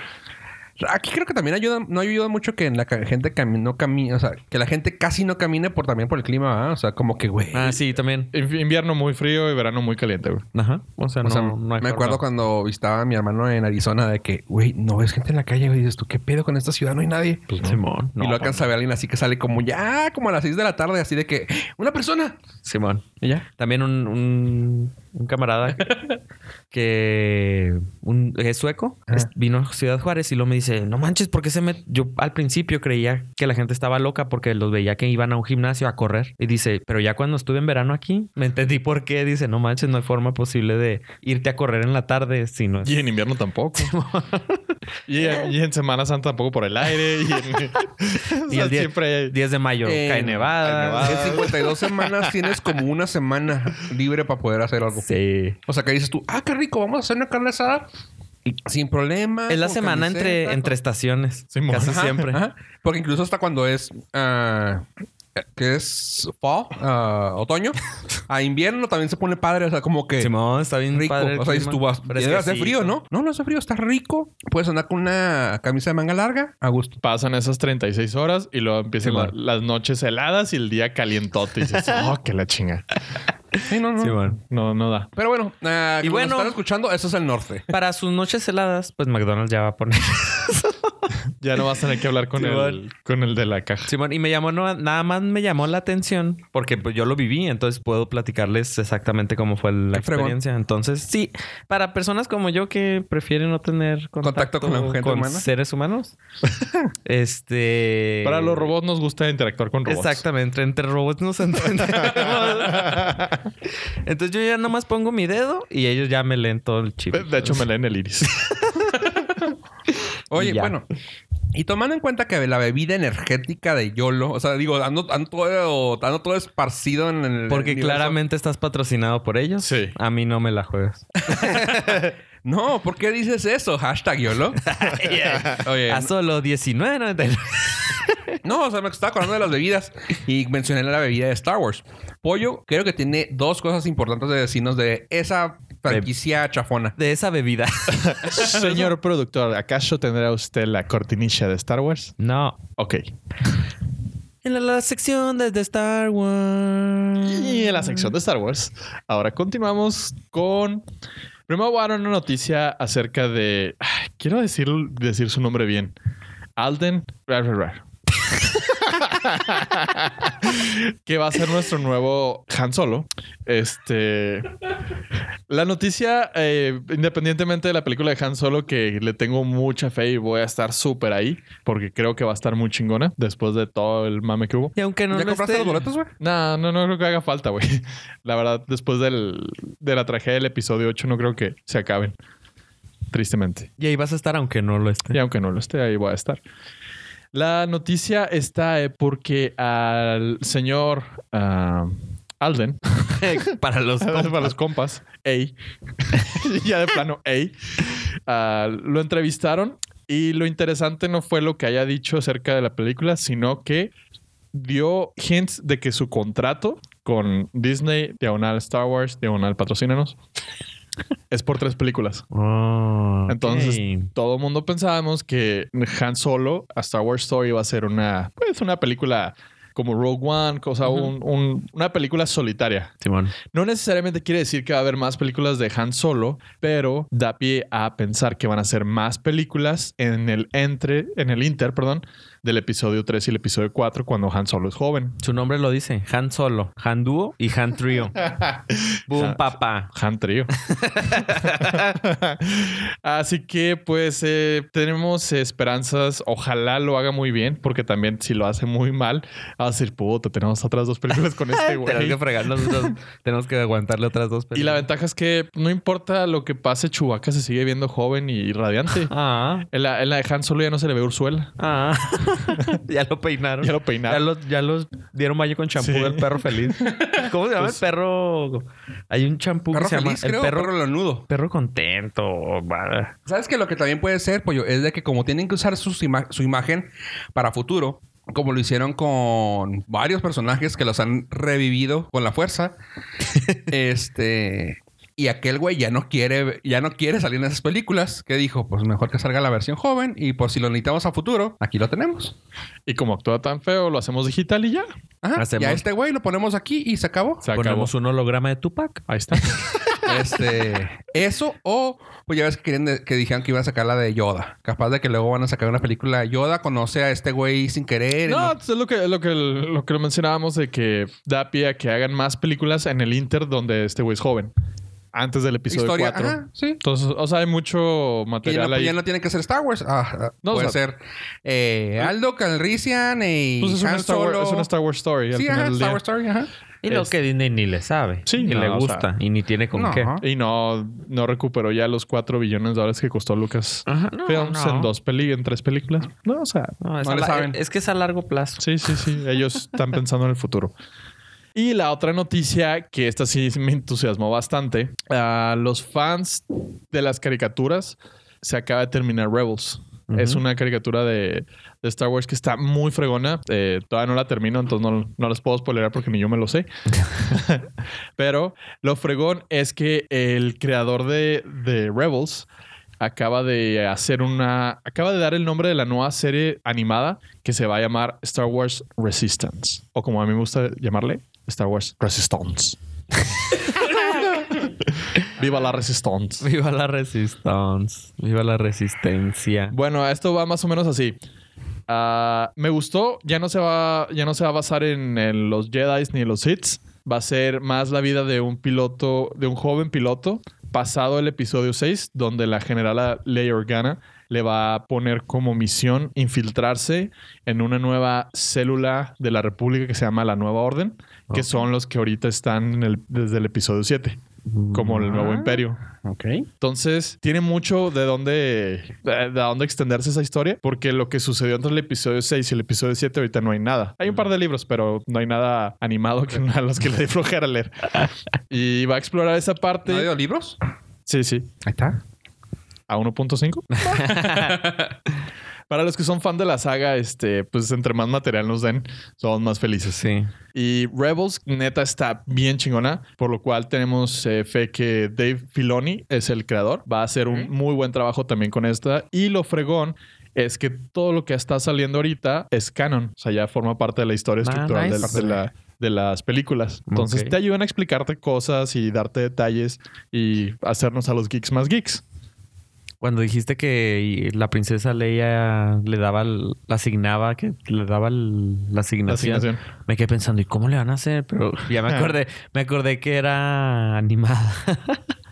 Aquí creo que también ayuda, no ayuda mucho que la ca- gente cami- no camine, o sea, que la gente casi no camine por también por el clima, ¿verdad? o sea, como que, güey. Ah, sí, también. Inv- Invierno muy frío y verano muy caliente. güey. Ajá. O sea, O no, sea, no hay me acuerdo forma. cuando visitaba a mi hermano en Arizona de que, güey, no ves gente en la calle, güey, dices tú, ¿qué pedo con esta ciudad? No hay nadie. Simón. y Pues, No, lo alcanza a ver a alguien así que sale como ya, como a las 6 de la tarde, así de que, una persona. pues, Simón. Y ya. También un, un- un camarada que- que un, es sueco Ah. Ajá. es- vino a Ciudad Juárez y luego me dice, no manches, ¿por qué se me...? Yo al principio creía que la gente estaba loca porque los veía que iban a un gimnasio a correr. Y dice, pero ya cuando estuve en verano aquí, me entendí por qué. Dice, no manches, no hay forma posible de irte a correr en la tarde si no es... Y en invierno tampoco. y, y en Semana Santa tampoco por el aire. Y, en- o Y sea, el día- siempre hay- 10 de mayo, Eh, cae nevada. cae nevada. En 52 semanas tienes como una semana libre para poder hacer algo. Sí. O sea, que dices tú, ah, qué rico, vamos a hacer una carne asada sin problema. Es la con semana entre, Ah, camiseta, entre estaciones. Simón. casi Ajá, siempre. ajá. Porque incluso hasta cuando es ah, que es fall, ah, otoño, a invierno también se pone padre, o sea, como que Simón, está bien rico. padre el o sea, dices clima. tú vas, Pero es debe que hacer sí. frío, ¿no? No, no hace frío, está rico. Puedes andar con una camisa de manga larga a gusto. Pasan esas 36 horas y luego empiezan la- las noches heladas y el día calientote. Y dices, oh, que la chinga. Sí, no, no. Simón. No, no da. Pero bueno, ah, Y como bueno- nos están escuchando, eso es el norte. Para sus noches heladas, pues McDonald's ya va a poner. Ya no vas a tener que hablar con, el, Simón. con el de la caja. Simón, y me llamó, no- nada más me llamó la atención porque pues, yo lo viví, entonces puedo platicarles exactamente cómo fue la Qué fregón. experiencia. Entonces, sí, para personas como yo que prefieren no tener contacto, Contacto con la gente con humana. seres humanos, este. Para los robots nos gusta interactuar con robots. Exactamente, entre robots nos entendemos. Entonces yo ya nomás pongo mi dedo y ellos ya me leen todo el chip. De hecho, me leen el iris. Oye, Y ya. bueno. Y tomando en cuenta que la bebida energética de YOLO, o sea, digo, ando, ando todo, ando todo esparcido en el. Porque universo. claramente estás patrocinado por ellos. Sí. A mí no me la juegas. No, ¿por qué dices eso? Hashtag YOLO. Oye, A solo 19.99. No, o sea, me estaba acordando de las bebidas y mencioné la bebida de Star Wars. Pollo, creo que tiene dos cosas importantes de decirnos de esa franquicia chafona. de esa bebida. Señor productor, ¿acaso tendrá usted la cortinilla de Star Wars? No. Ok. En la, la sección desde Star Wars. Y en la sección de Star Wars, ahora continuamos con. Primero voy a dar una noticia acerca de. Ay, Quiero decir, decir su nombre bien. Alden. rar, rar, rar. que va a ser nuestro nuevo Han Solo. Este. La noticia, eh, independientemente de la película de Han Solo, que le tengo mucha fe y voy a estar súper ahí, porque creo que va a estar muy chingona después de todo el mame que hubo. Y aunque no ¿Ya lo compraste esté, los boletos, güey? No, no, no creo que haga falta, güey. La verdad, después del, de la tragedia del episodio 8, no creo que se acaben. Tristemente. Y ahí vas a estar aunque no lo esté. Y aunque no lo esté, ahí voy a estar. La noticia está eh, porque al señor ah, Alden, Para los... para los compas, ey, ya de plano, ey, ah, lo entrevistaron y lo interesante no fue lo que haya dicho acerca de la película, sino que dio hints de que su contrato con Disney, Diagonal Star Wars, Diagonal Patrocínanos, es por tres películas. Oh, ok. Entonces, todo el mundo pensábamos que Han Solo a Star Wars Story iba a ser una, pues, una película como Rogue One, cosa, un- un- una película solitaria. Simón. No necesariamente quiere decir que va a haber más películas de Han Solo, pero da pie a pensar que van a ser más películas en el entre, en el inter, perdón, del episodio 3 y el episodio 4 cuando Han Solo es joven. Su nombre lo dice. Han Solo, Han Duo y Han Trio. Boom, Ah. papá. Han Trío. Así que pues eh, tenemos esperanzas. Ojalá lo haga muy bien, porque también si lo hace muy mal, va a decir, puta, tenemos otras dos películas con este Tenemos güey. que fregar nosotros. Tenemos que aguantarle otras dos Y la películas. ventaja es que no importa lo que pase, Chewbacca se sigue viendo joven y radiante. Ah, En la, en la de Han Solo ya no se le ve Ursuela. ah. ya lo peinaron. Ya lo Ya peinaron. los, ya los dieron baño con champú Sí. Pues, del perro feliz. ¿Cómo se llama el perro? Hay un champú que Perro se llama feliz, el creo, perro, perro lanudo. perro contento. va. ¿Sabes que lo que también puede ser, Pollo? Es de que como tienen que usar sus ima- su imagen para futuro, como lo hicieron con varios personajes que los han revivido con la fuerza, este... Y aquel güey ya no quiere, ya no quiere salir en esas películas. Que dijo, pues mejor que salga la versión joven y por si lo necesitamos a futuro, aquí lo tenemos. Y como actúa tan feo, lo hacemos digital y ya. Ajá. Hacemos- Y a este güey lo ponemos aquí y se acabó. Se acabó. Ponemos un holograma de Tupac. Ahí está. Este, eso o pues ya ves que, quieren de- que dijeron que iban a sacar la de Yoda. Capaz de que luego van a sacar una película de Yoda, conoce a este güey sin querer. y No, no- pues, es lo que, lo, que, lo que lo mencionábamos de que da pie a que hagan más películas en el Inter donde este güey es joven. Antes del episodio historia. 4. Ajá, sí. Entonces, o sea, hay mucho Y ya material no, pues, ahí. ya no tiene que ser Star Wars. Ah, ah, No, o puede sea- ser eh, Aldo Calrissian y Pues es, una Han Star Wars, Solo. es una Star Wars story. al Sí, final ajá, del Star día. Wars Story, ajá. Y lo Es- que Disney ni le sabe. Sí, ni no, le o gusta. sea. y ni tiene con No. qué. Y no, no recuperó ya los 4 billones de dólares que costó Lucas Ajá, no, Films no. en dos peli, en tres películas. No, o sea, No, es, No a le la- saben. es que es a largo plazo. Sí, sí, sí. Ellos están pensando en el futuro. Y la otra noticia, que esta sí me entusiasmó bastante, a los fans de las caricaturas se acaba de terminar Rebels. Ujú. Es una caricatura de, de Star Wars que está muy fregona. Eh, todavía no la termino, entonces no, no las puedo spoilerar porque ni yo me lo sé. Pero lo fregón es que el creador de, de Rebels acaba de hacer una. acaba de dar el nombre de la nueva serie animada que se va a llamar Star Wars Resistance. O como a mí me gusta llamarle, Star Wars Resistance. Viva la Resistance. Viva la resistance. Viva la resistencia. Bueno, esto va más o menos así. Ah, me gustó. Ya no se va, ya no se va a basar en, en los Jedi ni en los Sith. Va a ser más la vida de un piloto, de un joven piloto, pasado el episodio 6, donde la generala Leia Organa le va a poner como misión infiltrarse en una nueva célula de la República que se llama la Nueva Orden, que son los que ahorita están en el- desde el episodio 7, como el Ah. nuevo em- imperio. Ok. Entonces, tiene mucho de dónde, de, de dónde extenderse esa historia, porque lo que sucedió entre el episodio 6 y el episodio 7 ahorita no hay nada. Hay un par de libros, pero no hay nada animado que a los que le dé flojera leer. Y va a explorar esa parte. ¿No ha habido libros? Sí, sí. Ahí está. A 1.5. Para los que son fan de la saga, este, pues entre más material nos den, somos más felices. Sí. Y Rebels, neta, está bien chingona, por lo cual tenemos eh, fe que Dave Filoni es el creador. Va a hacer un muy buen trabajo también con esta. Y lo fregón es que todo lo que está saliendo ahorita es canon. O sea, ya forma parte de la historia Ah, estructural del- nice. de, la- de las películas. Entonces Ok. te ayudan a explicarte cosas y darte detalles y hacernos a los geeks más geeks. Cuando dijiste que la princesa Leia le daba, el- la asignaba, que le daba el- la La asignación. asignación. Ah. Me quedé pensando, ¿y cómo le van a hacer? Pero ya me acordé, me acordé que era animada.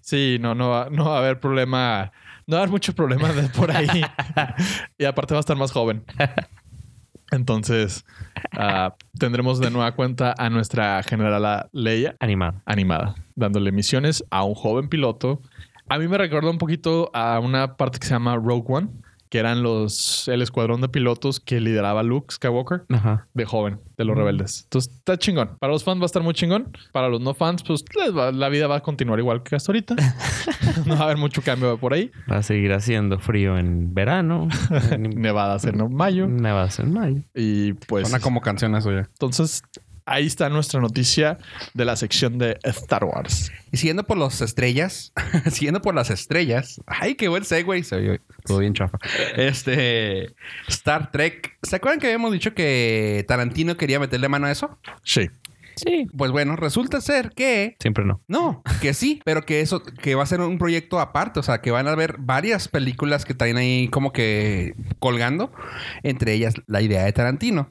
Sí, no, no va, no va a haber problema. No va a haber mucho problema de por ahí. y aparte va a estar más joven. Entonces, ah, tendremos de nueva cuenta a nuestra generala Leia animada. animada, dándole misiones a un joven piloto. A mí me recuerda un poquito a una parte que se llama Rogue One, que eran los el escuadrón de pilotos que lideraba Luke Skywalker Ajá. de joven, de los rebeldes. Entonces está chingón. Para los fans va a estar muy chingón. Para los no fans, pues les va- la vida va a continuar igual que hasta ahorita. no va a haber mucho cambio por ahí. Va a seguir haciendo frío en verano. en Nevadas en mayo. nevadas en mayo. Y pues. Suena como canción eso ya. Entonces, ahí está nuestra noticia de la sección de Star Wars. Y siguiendo por las estrellas, siguiendo por las estrellas. Ay, qué buen segue. Se oyó todo bien chafa. Este Star Trek. ¿Se acuerdan que habíamos dicho que Tarantino quería meterle mano a eso? Sí. Sí. Pues bueno, resulta ser que Siempre no. no, que sí, pero que eso, que va a ser un proyecto aparte, o sea, que van a haber varias películas que traen ahí como que colgando, entre ellas la idea de Tarantino.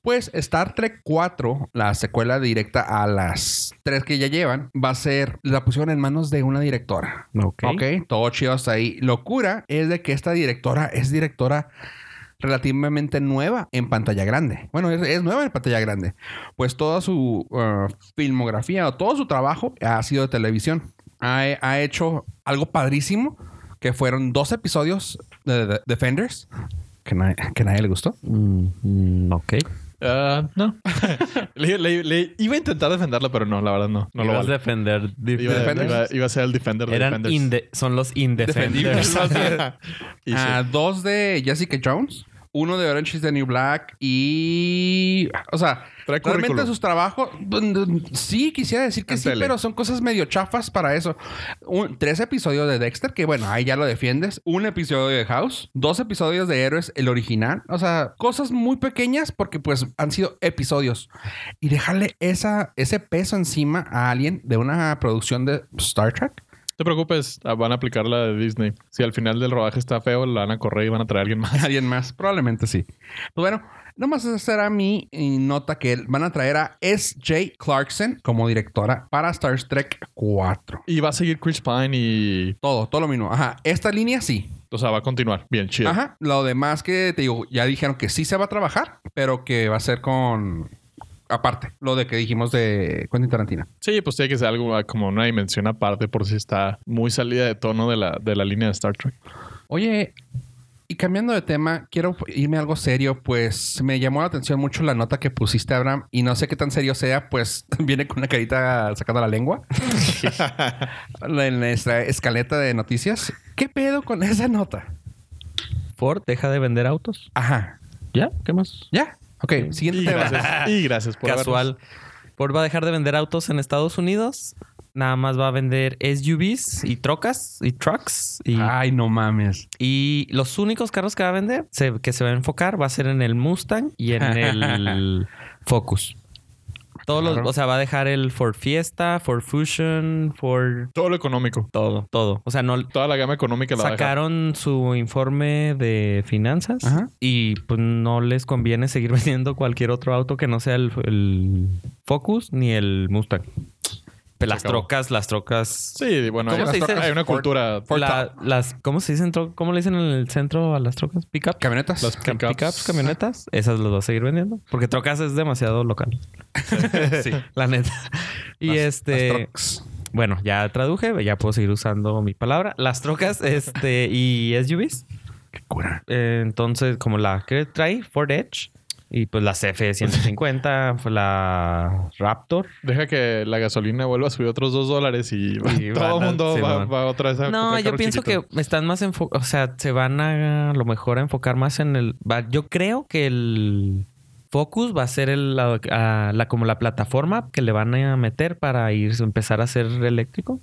Pues Star Trek 4, la secuela directa a las tres que ya llevan, va a ser, la pusieron en manos de una directora. Ok. ok, todo chido hasta ahí. Locura es de que esta directora es directora relativamente nueva en pantalla grande. Bueno, es, es nueva en pantalla grande. Pues toda su uh, filmografía o todo su trabajo ha sido de televisión. Ha, ha hecho algo padrísimo, que fueron dos episodios de, de- Defenders, que, nadie- que nadie le gustó. Mm, mm, ok. Ah, no. le, le- le- iba a intentar defenderlo, pero no, la verdad no. No lo Ibas a vale. defender. Iba, defenders? iba- iba a ser el defender de Eran defenders. inde- son los indefenders. Y sí. Ah, Dos de Jessica Jones, uno de Orange is the New Black y... O sea, Trae realmente currículum. sus trabajos... mm, Sí, quisiera decir que En sí, tele. pero son cosas medio chafas para eso. Un- tres episodios de Dexter, que bueno, ahí ya lo defiendes. Un episodio de House. Dos episodios de Héroes, el original. O sea, cosas muy pequeñas porque pues han sido episodios. Y dejarle esa, ese peso encima a alguien de una producción de Star Trek. No te preocupes, ah, van a aplicar la de Disney. Si al final del rodaje está feo, la van a correr y van a traer a alguien más. Alguien más, probablemente sí. Pues bueno, nomás esa será mi eh, nota que van a traer a S.J. Clarkson como directora para Star Trek 4. Y va a seguir Chris Pine y. Todo, todo lo mismo. Ajá, esta línea sí. O sea, va a continuar. Bien, chido. Ajá, lo demás que te digo, ya dijeron que sí se va a trabajar, pero que va a ser con... Aparte, lo de que dijimos de Quentin Tarantino. Sí, pues tiene que ser algo ah, como una dimensión aparte, por si está muy salida de tono de la, de la línea de Star Trek. Oye, y cambiando de tema, quiero irme a algo serio, pues me llamó la atención mucho la nota que pusiste, Abraham, y no sé qué tan serio sea, pues viene con una carita sacando la lengua en nuestra escaleta de noticias. ¿Qué pedo con esa nota? Ford deja de vender autos. Ajá. ¿Ya? ¿Qué más? Ya. Ok, siguiente Y tema. gracias, y gracias por Casual. vernos. Ford va a dejar de vender autos en Estados Unidos. Nada más va a vender SUVs y trocas y trucks. Y, Ay, no mames. y los únicos carros que va a vender, se- que se va a enfocar, va a ser en el Mustang y en el Focus. Todos los, Claro. o sea, va a dejar el Ford Fiesta, Ford Fusion, Ford Todo lo económico. todo, todo. O sea, no, Toda la gama económica la va a dejar. sacaron su informe de finanzas Ajá. y pues no les conviene seguir vendiendo cualquier otro auto que no sea el, el Focus ni el Mustang. Las acabó. trocas, las trocas. Sí, bueno, hay, ¿Cómo se dice? hay una Ford- cultura. la- las, ¿Cómo se dicen? tro- ¿Cómo le dicen en el centro a las trocas? ¿Pickup? Camionetas. Las Cam- pickups. Pickups, camionetas, esas las va a seguir vendiendo. Porque trocas es demasiado local. sí, la neta. Y este. Bueno, ya traduje, ya puedo seguir usando mi palabra. Las trocas, este, y SUVs. Qué cura. Eh, entonces, como la que trae Ford Edge y pues la F-150, fue la Raptor. Deja que la gasolina vuelva a subir otros dos dólares y, va- Y todo van a- el mundo sí, va, van. va otra vez a No, comprar yo carros pienso chiquitos. que están más enfocados, o sea, se van a, a lo mejor a enfocar más en el... va- yo creo que el Focus va a ser el, la, a- la- como la plataforma que le van a meter para ir, empezar a ser eléctrico.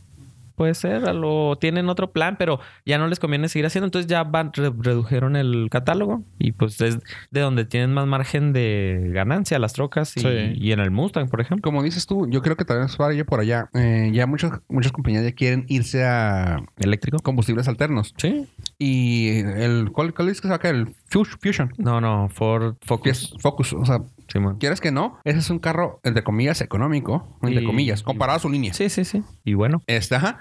Puede ser, a lo tienen otro plan, pero ya no les conviene seguir haciendo. Entonces ya van, re- redujeron el catálogo y pues es de donde tienen más margen de ganancia las trocas y, Sí. y en el Mustang, por ejemplo. Como dices tú, yo creo que también es para ir por allá. Eh, ya muchas, muchas compañías ya quieren irse a Eléctrico. combustibles alternos. Sí. Y el ¿cuál, cuál es que saca el Fus- Fusion? No, no, Ford Focus. Focus. Focus. O sea, Simón. quieres que no, ese es un carro, entre comillas, económico, entre Y- comillas, comparado a su línea. Sí, sí, sí. Y bueno. Este, ajá.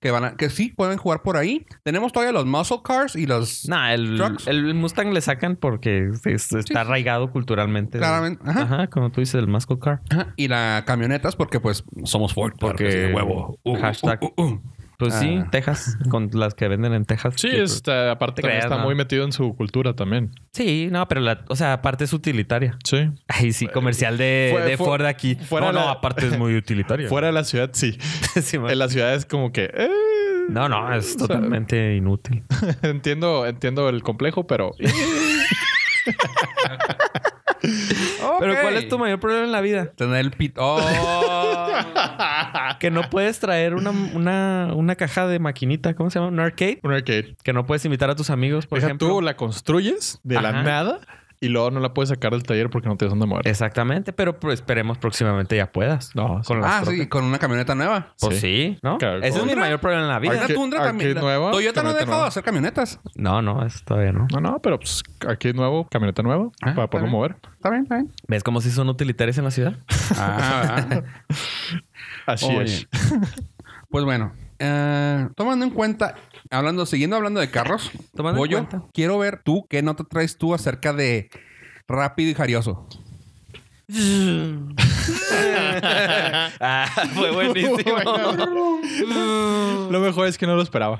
Que, van a- que sí pueden jugar por ahí. Tenemos todavía los muscle cars y los. Nah, el, Trucks. el Mustang le sacan porque es- está Sí. arraigado culturalmente. Claramente, ajá. Ajá. como tú dices, el Muscle Car. ajá, Y las camionetas, porque pues somos Ford. claro que sí, de huevo. Uh, uh, hashtag. uh, uh, uh. Pues sí, Ah. Texas, con las que venden en Texas. Sí, Yo creo- está, aparte te también creas, está ¿no? muy metido en su cultura también. Sí, no, pero la, o sea, aparte es utilitaria. Sí. Ay, sí, comercial de, Fuera- de fu- Ford aquí. fuera no, no, la- aparte es muy utilitaria. Fuera de la ciudad, sí. Sí, man. En la ciudad es como que... eh, No, no, o es sea, totalmente inútil. entiendo, entiendo el complejo, pero... Pero ¿cuál Ok. es tu mayor problema en la vida? Tener el pit. Oh. Que no puedes traer una, una, una caja de maquinita, ¿cómo se llama? Un arcade. Un arcade. Que no puedes invitar a tus amigos, por Deja ejemplo. tú la construyes de la Ajá. nada y luego no la puedes sacar del taller porque no te dónde mover. Exactamente, pero pues, esperemos próximamente ya puedas. No, con las ah, trocas. sí, con una camioneta nueva. Pues Sí. sí, ¿no? Claro, Ese es mi ¿Tundra? mayor problema en la vida. Ahorita Arcade- Tundra arcade también. nueva, Toyota no ha camioneta dejado nueva. de hacer camionetas. No, no, eso todavía no. No, no, pero pues aquí es nuevo, camioneta nueva, Ah, para está poder bien. mover. Está bien, está bien. ¿Ves cómo si son utilitarios en la ciudad? Ah, ¿verdad? Así Oye. es. Pues bueno, eh, tomando en cuenta, hablando, siguiendo hablando de carros, Tomando en Pollo, cuenta. quiero ver tú qué nota traes tú acerca de rápido y jarioso. ah, fue buenísimo. Lo mejor es que no lo esperaba.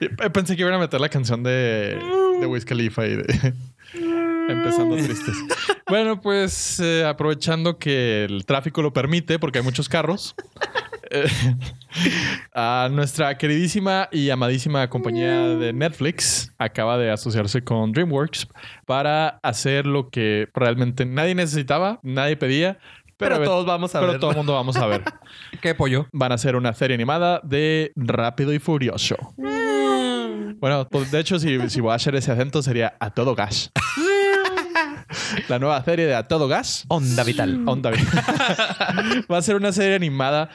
Eh, Pensé que iban a meter la canción de, de Wiz Khalifa y de- Empezando tristes. Bueno, pues eh, aprovechando que el tráfico lo permite, porque hay muchos carros, eh, a nuestra queridísima y amadísima compañía de Netflix acaba de asociarse con DreamWorks para hacer lo que realmente nadie necesitaba, nadie pedía, pero, pero, a ver- todos vamos a pero ver. todo el mundo vamos a ver. ¿Qué pollo? van a hacer una serie animada de Rápido y Furioso. Bueno, pues, de hecho, si, si voy a hacer ese acento sería A Todo Gas. La nueva serie de A Todo Gas. Onda vital. Onda Vida. Va a ser una serie animada.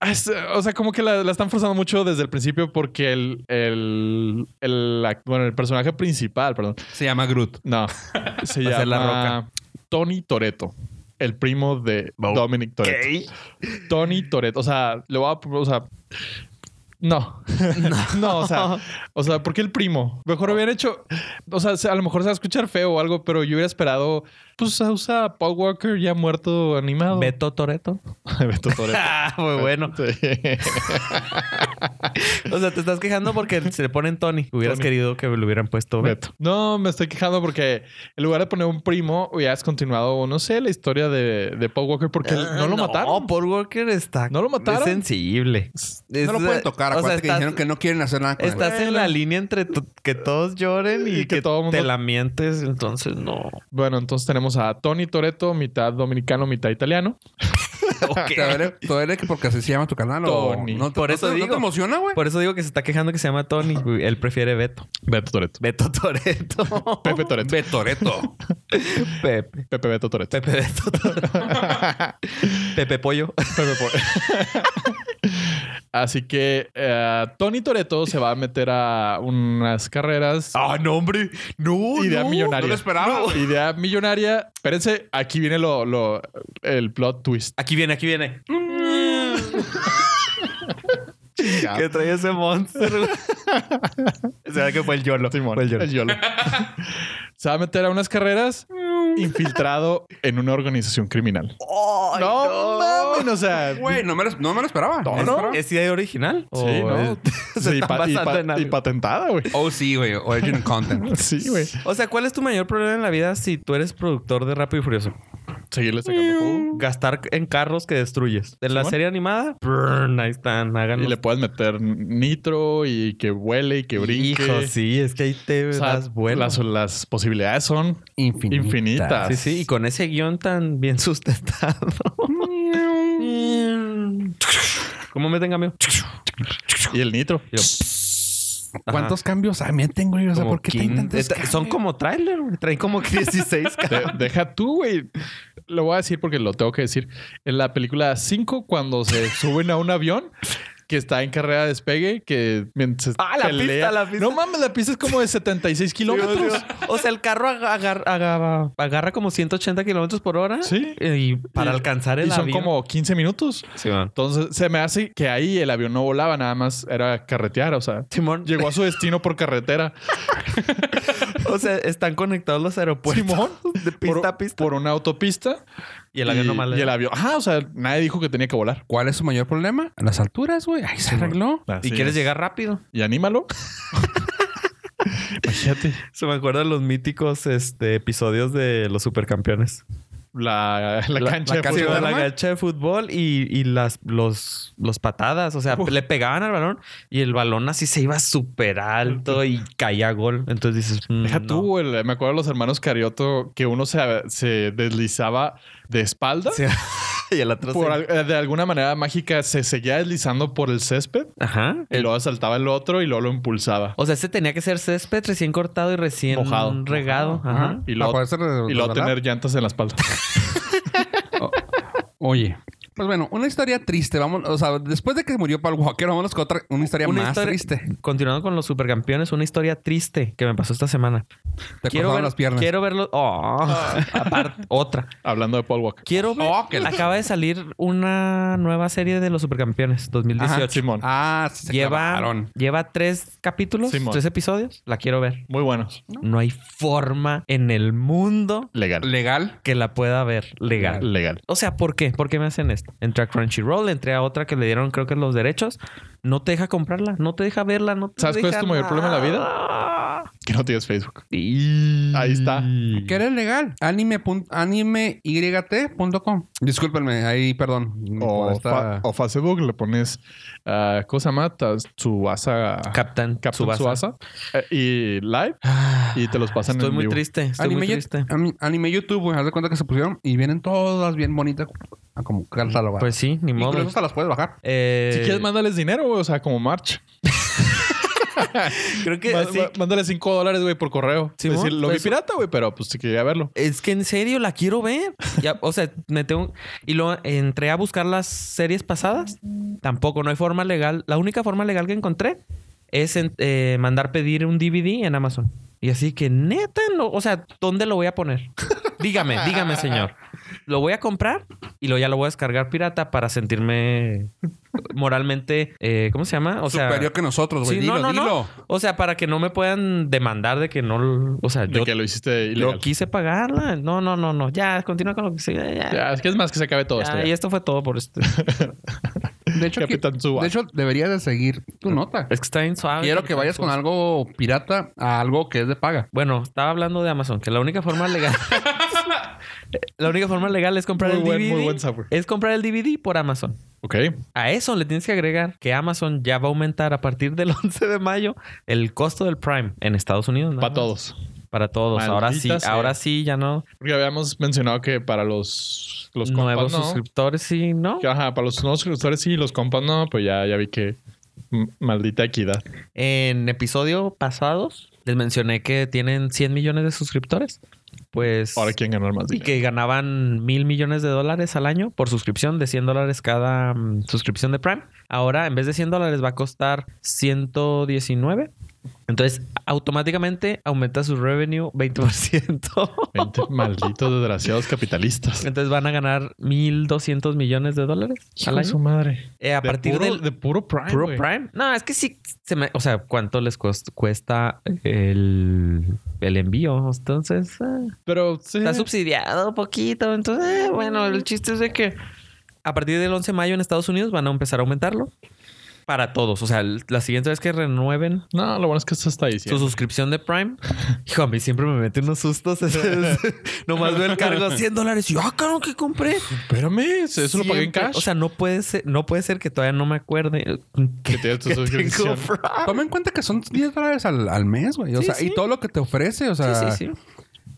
Es- O sea, como que la, la están forzando mucho desde el principio porque el, el, el act- bueno, el personaje principal, perdón, Se llama Groot. no, se Va a llama ser La Tony Toreto, el primo de Dominic Toreto. Tony Toretto. O sea, le voy a. O sea. No. No, o sea. O sea, ¿por qué el primo? Mejor hubieran hecho. O sea, a lo mejor se va a escuchar feo o algo, pero yo hubiera esperado. Pues usa a Paul Walker ya muerto animado. Beto Toreto. Beto Toretto. Ah, fue bueno. Sí. O sea, te estás quejando porque se le ponen Tony. Hubieras Tony. querido que le hubieran puesto Beto. No, me estoy quejando porque en lugar de poner un primo, hubieras continuado, no sé, la historia de, de Paul Walker porque no lo Ah, mataron. No, Paul Walker está. ¿No lo mataron? Es sensible. Es- no lo pueden tocar. llorar. O sea, Acuérdate que estás- dijeron que no quieren hacer nada con el Estás en la línea entre tu- que todos lloren y, Y que que, todo mundo- te lamientes, entonces no. Bueno, entonces tenemos a Tony Toreto, mitad dominicano, mitad italiano. güey. Te duele- te duele que porque así se llama tu canal o Tony. no te- Por no eso te- ¿No digo. te emociona, güey? Por eso digo que se está quejando que se llama Tony. güey. Él prefiere Beto. Beto Toreto. Beto Toreto. Pepe Toreto. Betoreto. Pepe. Pepe Beto Toreto. Pepe Beto Toreto. Pepe Pollo. Pepe Por- Así que eh, Tony Toreto se va a meter a unas carreras. Ah, no, hombre. No, idea no. millonaria. No lo esperaba. güey. Idea millonaria. Espérense, aquí viene lo, lo- el plot twist. Aquí viene, aquí viene. Ah. que trae ese monster. güey. se ve que fue el YOLO. Simón, Fue el YOLO. el YOLO. se va a meter a unas carreras infiltrado en una organización criminal. no, mames, o sea. Güey, no me lo, no me lo esperaba. No, Me lo no. esperaba. ¿Es idea original? Sí, ¿O ¿no? es- se Oh, Sí, están pa- y, basando pa- en algo? y patentada, güey. Oh, sí, güey. Original content. Sí, güey. O sea, ¿cuál es tu mayor problema en la vida si tú eres productor de Rápido y Furioso? Seguirle sacando jugo. Gastar en carros que destruyes. En la Simón. serie animada, brrn, ahí están, háganlo. Y le puedes meter nitro y que vuele y que brinque. Hijo, sí, es que ahí te O sea, das bueno. las, las posibilidades son Infinita. infinitas. Sí, sí, y con ese guión tan bien sustentado. ¿Cómo meten cambio? Y el nitro. Yo, ¿Cuántos cambios también tengo, güey? O sea, como ¿por qué te 15. intentas? Esta- Son como tráiler, güey. traen como 16 De- deja tú, güey. Lo voy a decir porque lo tengo que decir. En la película 5, cuando se suben a un avión que está en carrera de despegue, que mientras Ah, la pista, la pista. No mames, la pista es como de 76 kilómetros. O sea, el carro agar- agar- agarra como 180 kilómetros por hora. Sí. Y para Y- alcanzar el Y son avión. como 15 minutos. Simón. Entonces, se me hace que ahí el avión no volaba, nada más era carretear, o sea. Simón, Llegó a su destino por carretera. o sea, están conectados los aeropuertos. Simón. De pista Por, a pista. por una autopista. y el avión y, nomás le- y el avión. Ajá, o sea, nadie dijo que tenía que volar. ¿Cuál es su mayor problema? Las alturas, güey. Ahí se arregló. Y Así quieres es. llegar rápido. Y anímalo. Imagínate. Se me acuerdan los míticos este, episodios de los supercampeones. La, la cancha la de cancha Sí, fútbol. la normal? cancha de fútbol y, y las los, los patadas. O sea, le pegaban al balón y el balón así se iba súper alto y caía gol. Entonces dices, mm, Deja no. tú, el- me acuerdo de los hermanos Carioto que uno se, se deslizaba de espalda. Sí. y el otro Por se- al- de alguna manera mágica se seguía deslizando por el césped Ajá. y luego saltaba el otro y luego lo impulsaba. O sea, ese tenía que ser césped recién cortado y recién Mojado. regado. Ajá. Y luego, Para poder ser y luego resbalar. tener llantas en la espalda. Oye. Pues bueno, una historia triste. Vamos, o sea, después de que murió Paul Walker, vámonos con otra, una historia Una más historia- triste. Continuando con los supercampeones, una historia triste que me pasó esta semana. Te cortaron las piernas. Quiero verlo. Oh, aparte, otra. Hablando de Paul Walker. Quiero ver. Oh, que la- Acaba de salir una nueva serie de los supercampeones 2018. Ajá, Simón. Ah, sí, se lleva, clavaron. lleva tres capítulos, Simón. tres episodios. La quiero ver. Muy buenos. No hay forma en el mundo Legal. Legal. que la pueda ver legal. Legal. O sea, ¿por qué? ¿Por qué me hacen esto? Entré a Crunchyroll, entré a otra que le dieron, creo que los derechos. No te deja comprarla, no te deja verla, no te ¿Sabes cuál es deja tu mayor problema en la vida? nada. Que no tienes Facebook. Y- Ahí está. ¿Qué eres legal? Anime pun- animeyt.com. Discúlpenme, ahí, perdón. O, por esta- Oh, fa- o Facebook le pones ah, cosa mata su asa. Captain, Captain Tsubasa. Tsubasa, eh, y live y te los pasan Estoy en muy vivo. triste, estoy anime, muy triste. ami- anime YouTube, güey. Haz de cuenta que se pusieron y vienen todas bien bonitas a como catalogadas. Pues sí, ni Incluso modo. hasta las puedes bajar. Eh, Si quieres, mándales dinero, güey. O sea, como March. creo que Ma- sí. ma- Mándale 5 dólares, güey, por correo. Sí, Es decir, mon, lo vi pues- pirata, güey, pero pues sí quería verlo. Es que en serio la quiero ver. Ya, o sea, me tengo. Y lo entré a buscar las series pasadas. Tampoco, no hay forma legal. La única forma legal que encontré es en- eh, mandar pedir un DVD en Amazon. Y así que neta, no, o sea, ¿dónde lo voy a poner? Dígame, dígame, señor. Lo voy a comprar y luego ya lo voy a descargar pirata para sentirme moralmente, eh, ¿cómo se llama? O sea, Superior que nosotros, Pues, güey. sí, dilo, no, no, no. dilo. O sea, para que no me puedan demandar de que no, o sea, De yo que lo hiciste lo ilegal. quise pagarla. No, no, no, no. Ya, continúa con lo que sigue. Ya, Ya, es que es más que se acabe todo Ya, esto. y ya. esto fue todo por esto. De hecho, que- Capitán Tsubasa. de hecho, deberías de seguir tu nota. Es que está bien suave. Quiero que vayas con algo pirata a algo que es de paga. Bueno, estaba hablando de Amazon, que la única forma legal. la única forma legal es comprar Muy el buen- DVD. muy buen sabor. Es comprar el DVD por Amazon. Ok. A eso le tienes que agregar que Amazon ya va a aumentar a partir del 11 de mayo el costo del Prime en Estados Unidos. nada Para más. todos. Para todos. ahora sí, Maldita sea. ahora sí, ya no. Porque habíamos mencionado que para los, los compas nuevos no. suscriptores, sí, ¿no? Que, Ajá, para los nuevos suscriptores sí, los compas no, pues ya, ya vi que m- maldita equidad. En episodio pasados les mencioné que tienen 100 millones de suscriptores. Pues... Ahora quieren ganar más Y dinero. que ganaban mil millones de dólares al año por suscripción de 100 dólares cada mm, suscripción de Prime. Ahora, en vez de 100 dólares, va a costar 119. Entonces, automáticamente aumenta su revenue 20%. 20 malditos desgraciados capitalistas. Entonces van a ganar 1.200 millones de dólares Hijo al de año. madre. Eh, a partir de puro, del de puro Prime. Pro güey. Prime. No, es que sí. se me- o sea, ¿cuánto les cost- cuesta el, el envío? Entonces... ah. Pero sí. Está subsidiado poquito. Entonces, eh, bueno, el chiste es de que a partir del 11 de mayo en Estados Unidos van a empezar a aumentarlo para todos. O sea, el- la siguiente vez que renueven No, lo bueno es que esto está diciendo. su suscripción de Prime, hijo, a mí siempre me mete unos sustos. Nomás veo el cargo 100 dólares. Y yo, ah, cabrón, que compré. Espérame, eso lo pagué Siempre. en cash. O sea, no puede ser, no puede ser que todavía no me acuerde eh, que, que tienes tu que tengo suscripción. Prime. Toma en cuenta que son 10 dólares al, al mes, güey. O Ah. Sí, sea, sí. y todo lo que te ofrece, o sea, Sí, sí, sí.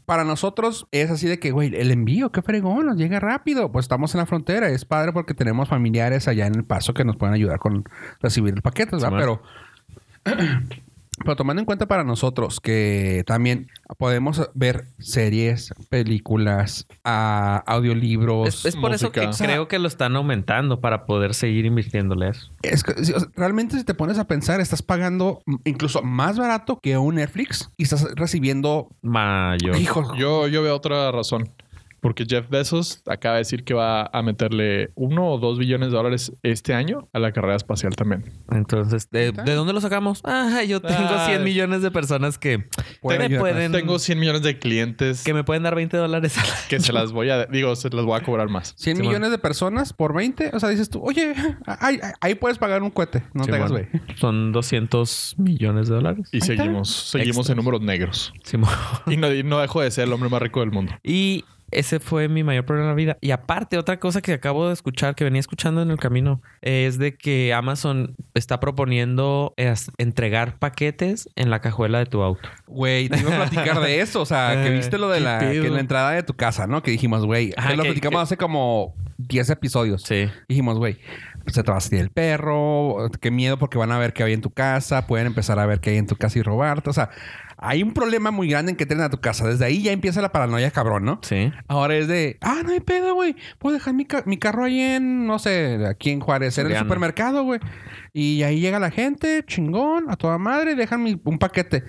para nosotros es así de que, güey, el envío, qué fregón, nos llega rápido. Pues estamos en la frontera, es padre porque tenemos familiares allá en El Paso que nos pueden ayudar con recibir el paquete, ¿verdad? Simón. pero, pero tomando en cuenta para nosotros que también podemos ver series, películas, ah, audiolibros. Es, es por eso que música. creo que lo están aumentando para poder seguir invirtiéndole a eso. Es que, sí, o sea, realmente si te pones a pensar, estás pagando mm, incluso más barato que un Netflix y estás recibiendo... Mayor. Hijo, Yo, yo veo otra razón. Porque Jeff Bezos acaba de decir que va a meterle uno o dos billones de dólares este año a la carrera espacial también. Entonces, ¿de, ¿Neta? de dónde lo sacamos? Ah, yo tengo Ah, 100 millones de personas que, Pueden que me ayudar. pueden, Tengo 100 millones de clientes que me pueden dar 20 dólares. al año. que se las voy a... Digo, se las voy a cobrar más. 100 Simón. millones de personas por 20. O sea, dices tú, oye, ahí, ahí puedes pagar un cohete. No te hagas, Simón. güey. Son 200 millones de dólares. Y seguimos, seguimos en números negros. Simón. Y no, y no dejo de ser el hombre más rico del mundo. Y ese fue mi mayor problema en la vida. Y aparte, otra cosa que acabo de escuchar, que venía escuchando en el camino, es de que Amazon está proponiendo es, entregar paquetes en la cajuela de tu auto. Güey, te iba a platicar de eso. O sea, que Eh, viste lo de qué la, que pedo. en la entrada de tu casa, ¿no? Que dijimos, güey, Ajá, que lo que- platicamos que- hace como 10 episodios. Sí. Dijimos, güey, se te va a salir el perro, qué miedo porque van a ver qué hay en tu casa, pueden empezar a ver qué hay en tu casa y robarte. O sea, hay un problema muy grande en que entren a tu casa. Desde ahí ya empieza la paranoia, cabrón, ¿no? Sí. Ahora es de, ah, no hay pedo, güey. Puedo dejar mi, ca- mi carro ahí en, no sé, aquí en Juárez, en el Soriana. supermercado, güey. Y ahí llega la gente, chingón, a toda madre, dejan mi- un paquete.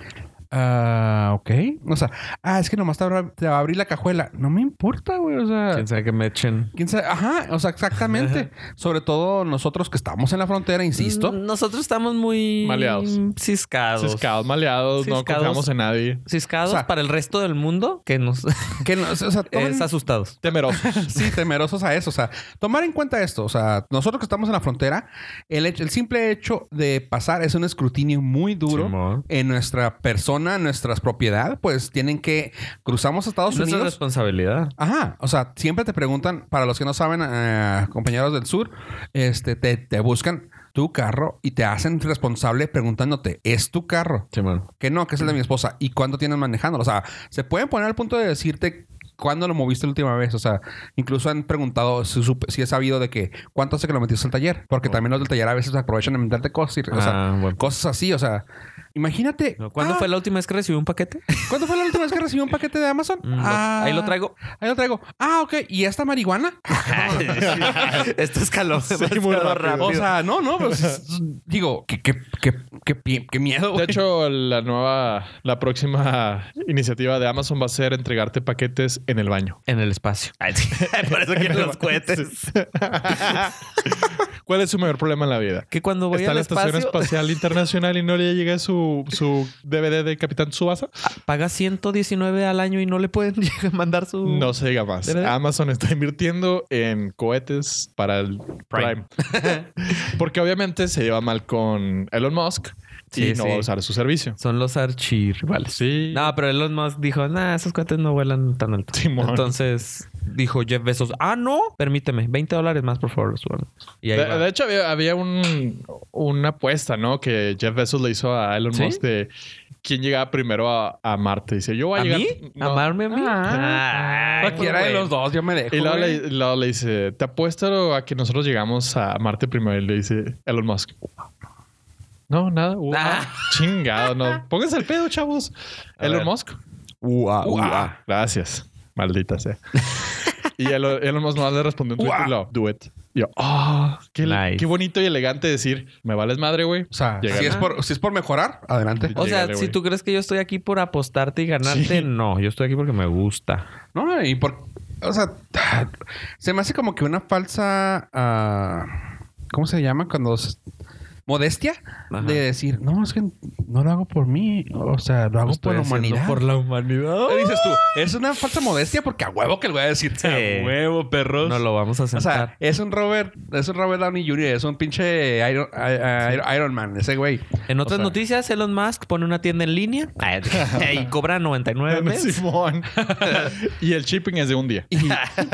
Ah, ok. O sea, ah, es que nomás te, abra- te va a abrir la cajuela. No me importa, güey. O sea, Quién sabe que me echen. quién sabe. Ajá, o sea, exactamente. Sobre todo nosotros que estamos en la frontera, insisto. Mm, Nosotros estamos muy... Maleados. Ciscados. Ciscados, maleados, no Ciscados. confiamos en nadie. Ciscados O sea, para el resto del mundo que nos Que no, o sea, tomen- es asustados. Temerosos. Sí, temerosos a eso. O sea, tomar en cuenta esto. O sea, nosotros que estamos en la frontera, el, hecho- el simple hecho de pasar es un escrutinio muy duro Simón. en nuestra persona, en nuestras propiedades. Pues tienen que... Cruzamos a Estados Nuestra Unidos. responsabilidad. Ajá, o sea, siempre te preguntan, para los que no saben, eh, compañeros del sur, este, te, te buscan tu carro y te hacen responsable preguntándote, ¿es tu carro? Simón. Que no, que es el de mi esposa. ¿Y cuánto tienes manejándolo? O sea, se pueden poner al punto de decirte cuándo lo moviste la última vez. O sea, incluso han preguntado si, supe- si he sabido de que cuánto hace que lo metiste al taller. Porque también los del taller a veces aprovechan de inventarte cosas. y- o sea, Ah, bueno. cosas así. O sea, imagínate. ¿Cuándo ah, fue la última vez que recibí un paquete? ¿Cuándo fue la última vez que recibí un paquete de Amazon? Mm, lo- Ah, Ahí lo traigo. Ahí lo traigo. Ah, ok. ¿Y esta marihuana? Ah, Esto escaló. muy escaló rápido. o sea, no, no. Pues, es- digo, qué, qué, qué, qué, pi- qué miedo. De güey. hecho, la nueva, la próxima iniciativa de Amazon va a ser entregarte paquetes en el baño. En el espacio. Por eso quieren los cohetes. ¿Cuál es su mayor problema en la vida? Que cuando voy Está en al la Estación espacio, Espacial Internacional y no le llega su, su DVD de Capitán Tsubasa. paga 119 al año y no le pueden llegar a mandar su... No se diga más. ¿Verdad? Amazon está invirtiendo en cohetes para el Prime. Prime. Porque obviamente se lleva mal con Elon Musk y Sí, no sí. va a usar su servicio. Son los archirrivales. Sí. No, pero Elon Musk dijo, nah, esos cohetes no vuelan tan alto. Simón. Entonces, dijo Jeff Bezos, ah, no, permíteme, 20 dólares más, por favor, súbame". Y ahí De, va. de hecho, había, había un- una apuesta, ¿no? Que Jeff Bezos le hizo a Elon ¿Sí? Musk de quién llegaba primero a, a Marte. Dice, yo voy a, ¿A llegar. mí? No. ¿Amarme a mí? Ah, Ay, Cualquiera de güey. los dos, yo me dejo. Y luego güey. le, luego le dice, te apuesto a que nosotros llegamos a Marte primero. Y le dice Elon Musk. No, nada. Uh, Ah. ah, Chingado, no. Pónganse el pedo, chavos. A Elon ver. Musk. Ua, Uh, ua. ah, Gracias. Maldita sea. y Elon, Elon Musk nomás le respondió un tweet Ua. y lo, do it. Y yo, ah, qué, Oh, Nice. qué bonito y elegante decir, me vales madre, güey. O sea, Llega si es, la- por, si es por mejorar, adelante. O sea, Llégale, si güey. tú crees que yo estoy aquí por apostarte y ganarte, Sí. no, yo estoy aquí porque me gusta. No, y por. O sea, se me hace como que una falsa. ah, ¿Cómo se llama? Cuando. se- modestia Ajá. de decir, no, es que no lo hago por mí. O sea, lo hago por la humanidad. la humanidad. ¿Qué dices tú? Es una falsa modestia porque a huevo que le voy a decir. Sí. A Eh, huevo, perros. No lo vamos a o sea, sentar. es un Robert, es un Robert Downey Jr., es un pinche Iron, I- I- Iron Man, ese güey. en otras o sea- noticias, Elon Musk pone una tienda en línea y cobra 99 veces. Simón. y el shipping es de un día. Y,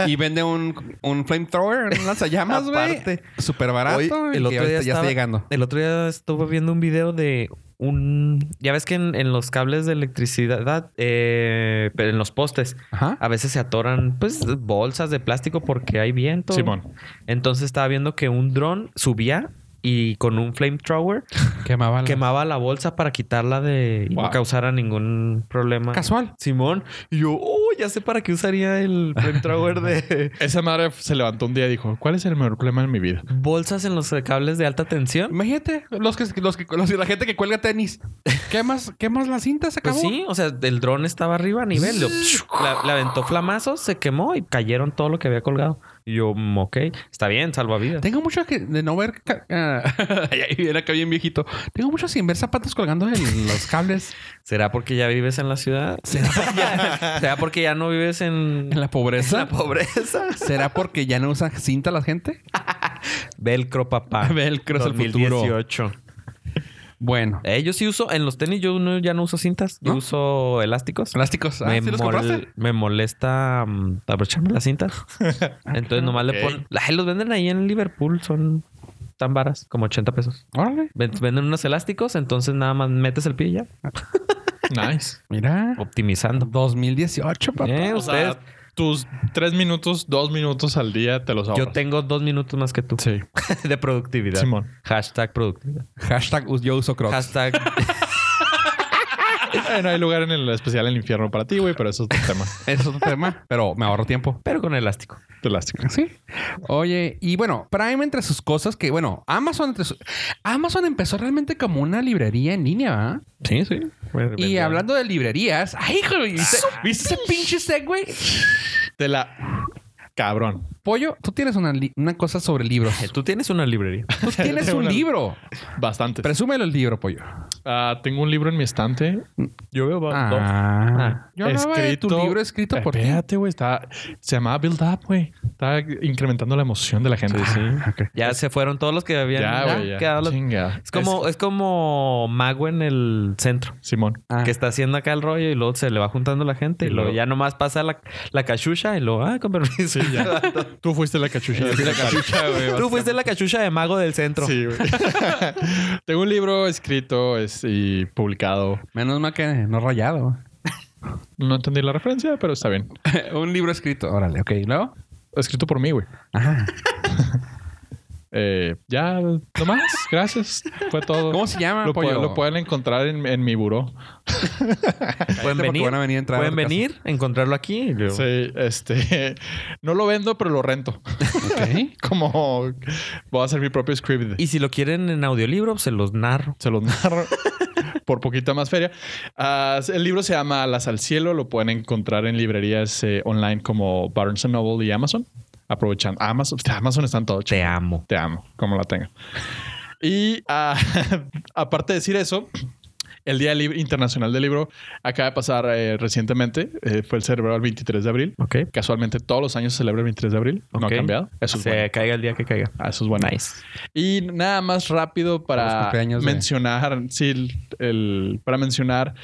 y vende un, un flamethrower, un lanzallamas, güey. Aparte. Súper barato. Hoy, y que ahorita ya está estaba- llegando. El otro día estuve viendo un video de un... Ya ves que en, en los cables de electricidad, eh, pero en los postes, Ajá. a veces se atoran pues bolsas de plástico porque hay viento. Simón. Entonces estaba viendo que un dron subía y con un flamethrower Quemaba quemaba la bolsa para quitarla de... y no Wow. causara ningún problema. Casual. Simón. Y yo, oh, ya sé para qué usaría el flamethrower de Esa madre se levantó un día y dijo, ¿cuál es el mayor problema en mi vida? bolsas en los cables de alta tensión. Imagínate, los que, los que, los- la gente que cuelga tenis. Quemas, quemas la cinta, se acabó. Pues sí, o sea, el dron estaba arriba a nivel. lo- la, la aventó flamazos, se quemó y cayeron todo lo que había colgado. Y yo, mm, ok, está bien, salvavidas. Tengo mucho que de no ver. ca- ah, Ahí viene acá bien viejito. Tengo mucho sin ver zapatos colgando en los cables. ¿Será porque ya vives en la ciudad? ¿Será, ¿Será porque ya no vives en, En la pobreza. la pobreza? ¿Será porque ya no usan cinta la gente? Velcro, papá. Velcro es el futuro. 2018. Bueno. Eh, yo sí uso, en los tenis yo no- ya no uso cintas, yo ¿No? uso elásticos. Plásticos. Ah, me, ¿sí los mol- compraste? me molesta mm, abrocharme las cintas. Entonces nomás le Ok. ponen. Ay, los venden ahí en Liverpool, son tan varas, como 80 pesos. Órale. Ven- Venden unos elásticos, entonces nada más metes el pie y ya. Nice. Mira. Optimizando. 2018, papá. Eh, O sea, ustedes- tus tres minutos, dos minutos al día te los ahorras. yo tengo dos minutos más que tú Sí, de productividad. Simón. Hashtag productividad. Hashtag us- yo uso crocs. Hashtag. Eh, no hay lugar en el especial en el infierno para ti, güey, pero eso es otro tema. Ese es otro tema, pero me ahorro tiempo. pero con elástico. Te elástico. Sí. Oye, y bueno, Prime entre sus cosas que, bueno, Amazon entre sus- Amazon empezó realmente como una librería en línea, ¿verdad? Sí, sí. Y hablando de librerías, ¡ay, hijo! ¿Viste, ¿viste ese ¡Ah, pinche segue? Te la... Cabrón. Pollo, tú tienes una, li- una cosa sobre libros. Eh, Tú tienes una librería. Tú tienes un Una- libro. Bastante. Presúmelo el libro, pollo. Ah, tengo un libro en mi estante. Yo veo Ah. Ah. Yo hablaba de tu libro escrito por ti. Espérate, güey. Está... Se llamaba Build Up, güey. Está incrementando la emoción de la Ah, gente. Sí. Ya pues- se fueron todos los que habían Ya, güey. Ya, quedado los- Chinga. Es como, es como mago en el centro. Simón. Ah. que está haciendo acá el rollo y luego se le va juntando la gente y, Y luego luego- ya nomás pasa la, la cachucha y luego, ah, con permiso. ya. Tú fuiste la cachucha. de Tú fuiste la cachucha de mago del centro. Sí, güey. Tengo un libro escrito es- y publicado. Menos mal que no rayado. No entendí la referencia, pero está bien. un libro escrito. Órale, ok. ¿y luego? Escrito por mí, güey. Ajá. Eh, ya, nomás. Gracias. Fue todo. ¿Cómo se llama, Lo, pollo? pueden- lo pueden encontrar en, en mi buró. Pueden Porque venir, van a venir a entrar a pueden tu casa. venir, encontrarlo aquí. y luego- Sí, este. No lo vendo, pero lo rento. Ok. Como voy a hacer mi propio script. Y si lo quieren en audiolibro, se los narro. se los narro por poquita más feria. Ah, el libro se llama Alas al cielo, lo pueden encontrar en librerías eh, online como Barnes Noble y Amazon. Aprovechando Amazon, Amazon están todos Te amo. Te amo, como la tenga. Y ah, aparte de decir eso, el Día Lib- Internacional del Libro acaba de pasar eh, recientemente, eh, fue el celebrado el 23 de abril. Ok. Casualmente todos los años se celebra el 23 de abril, no ha Ok. cambiado. Eso es se bueno. caiga el día que caiga. Ah, Eso es bueno. Nice. Y nada más rápido Para los para cumpleaños de- mencionar, sí, el, el- para mencionar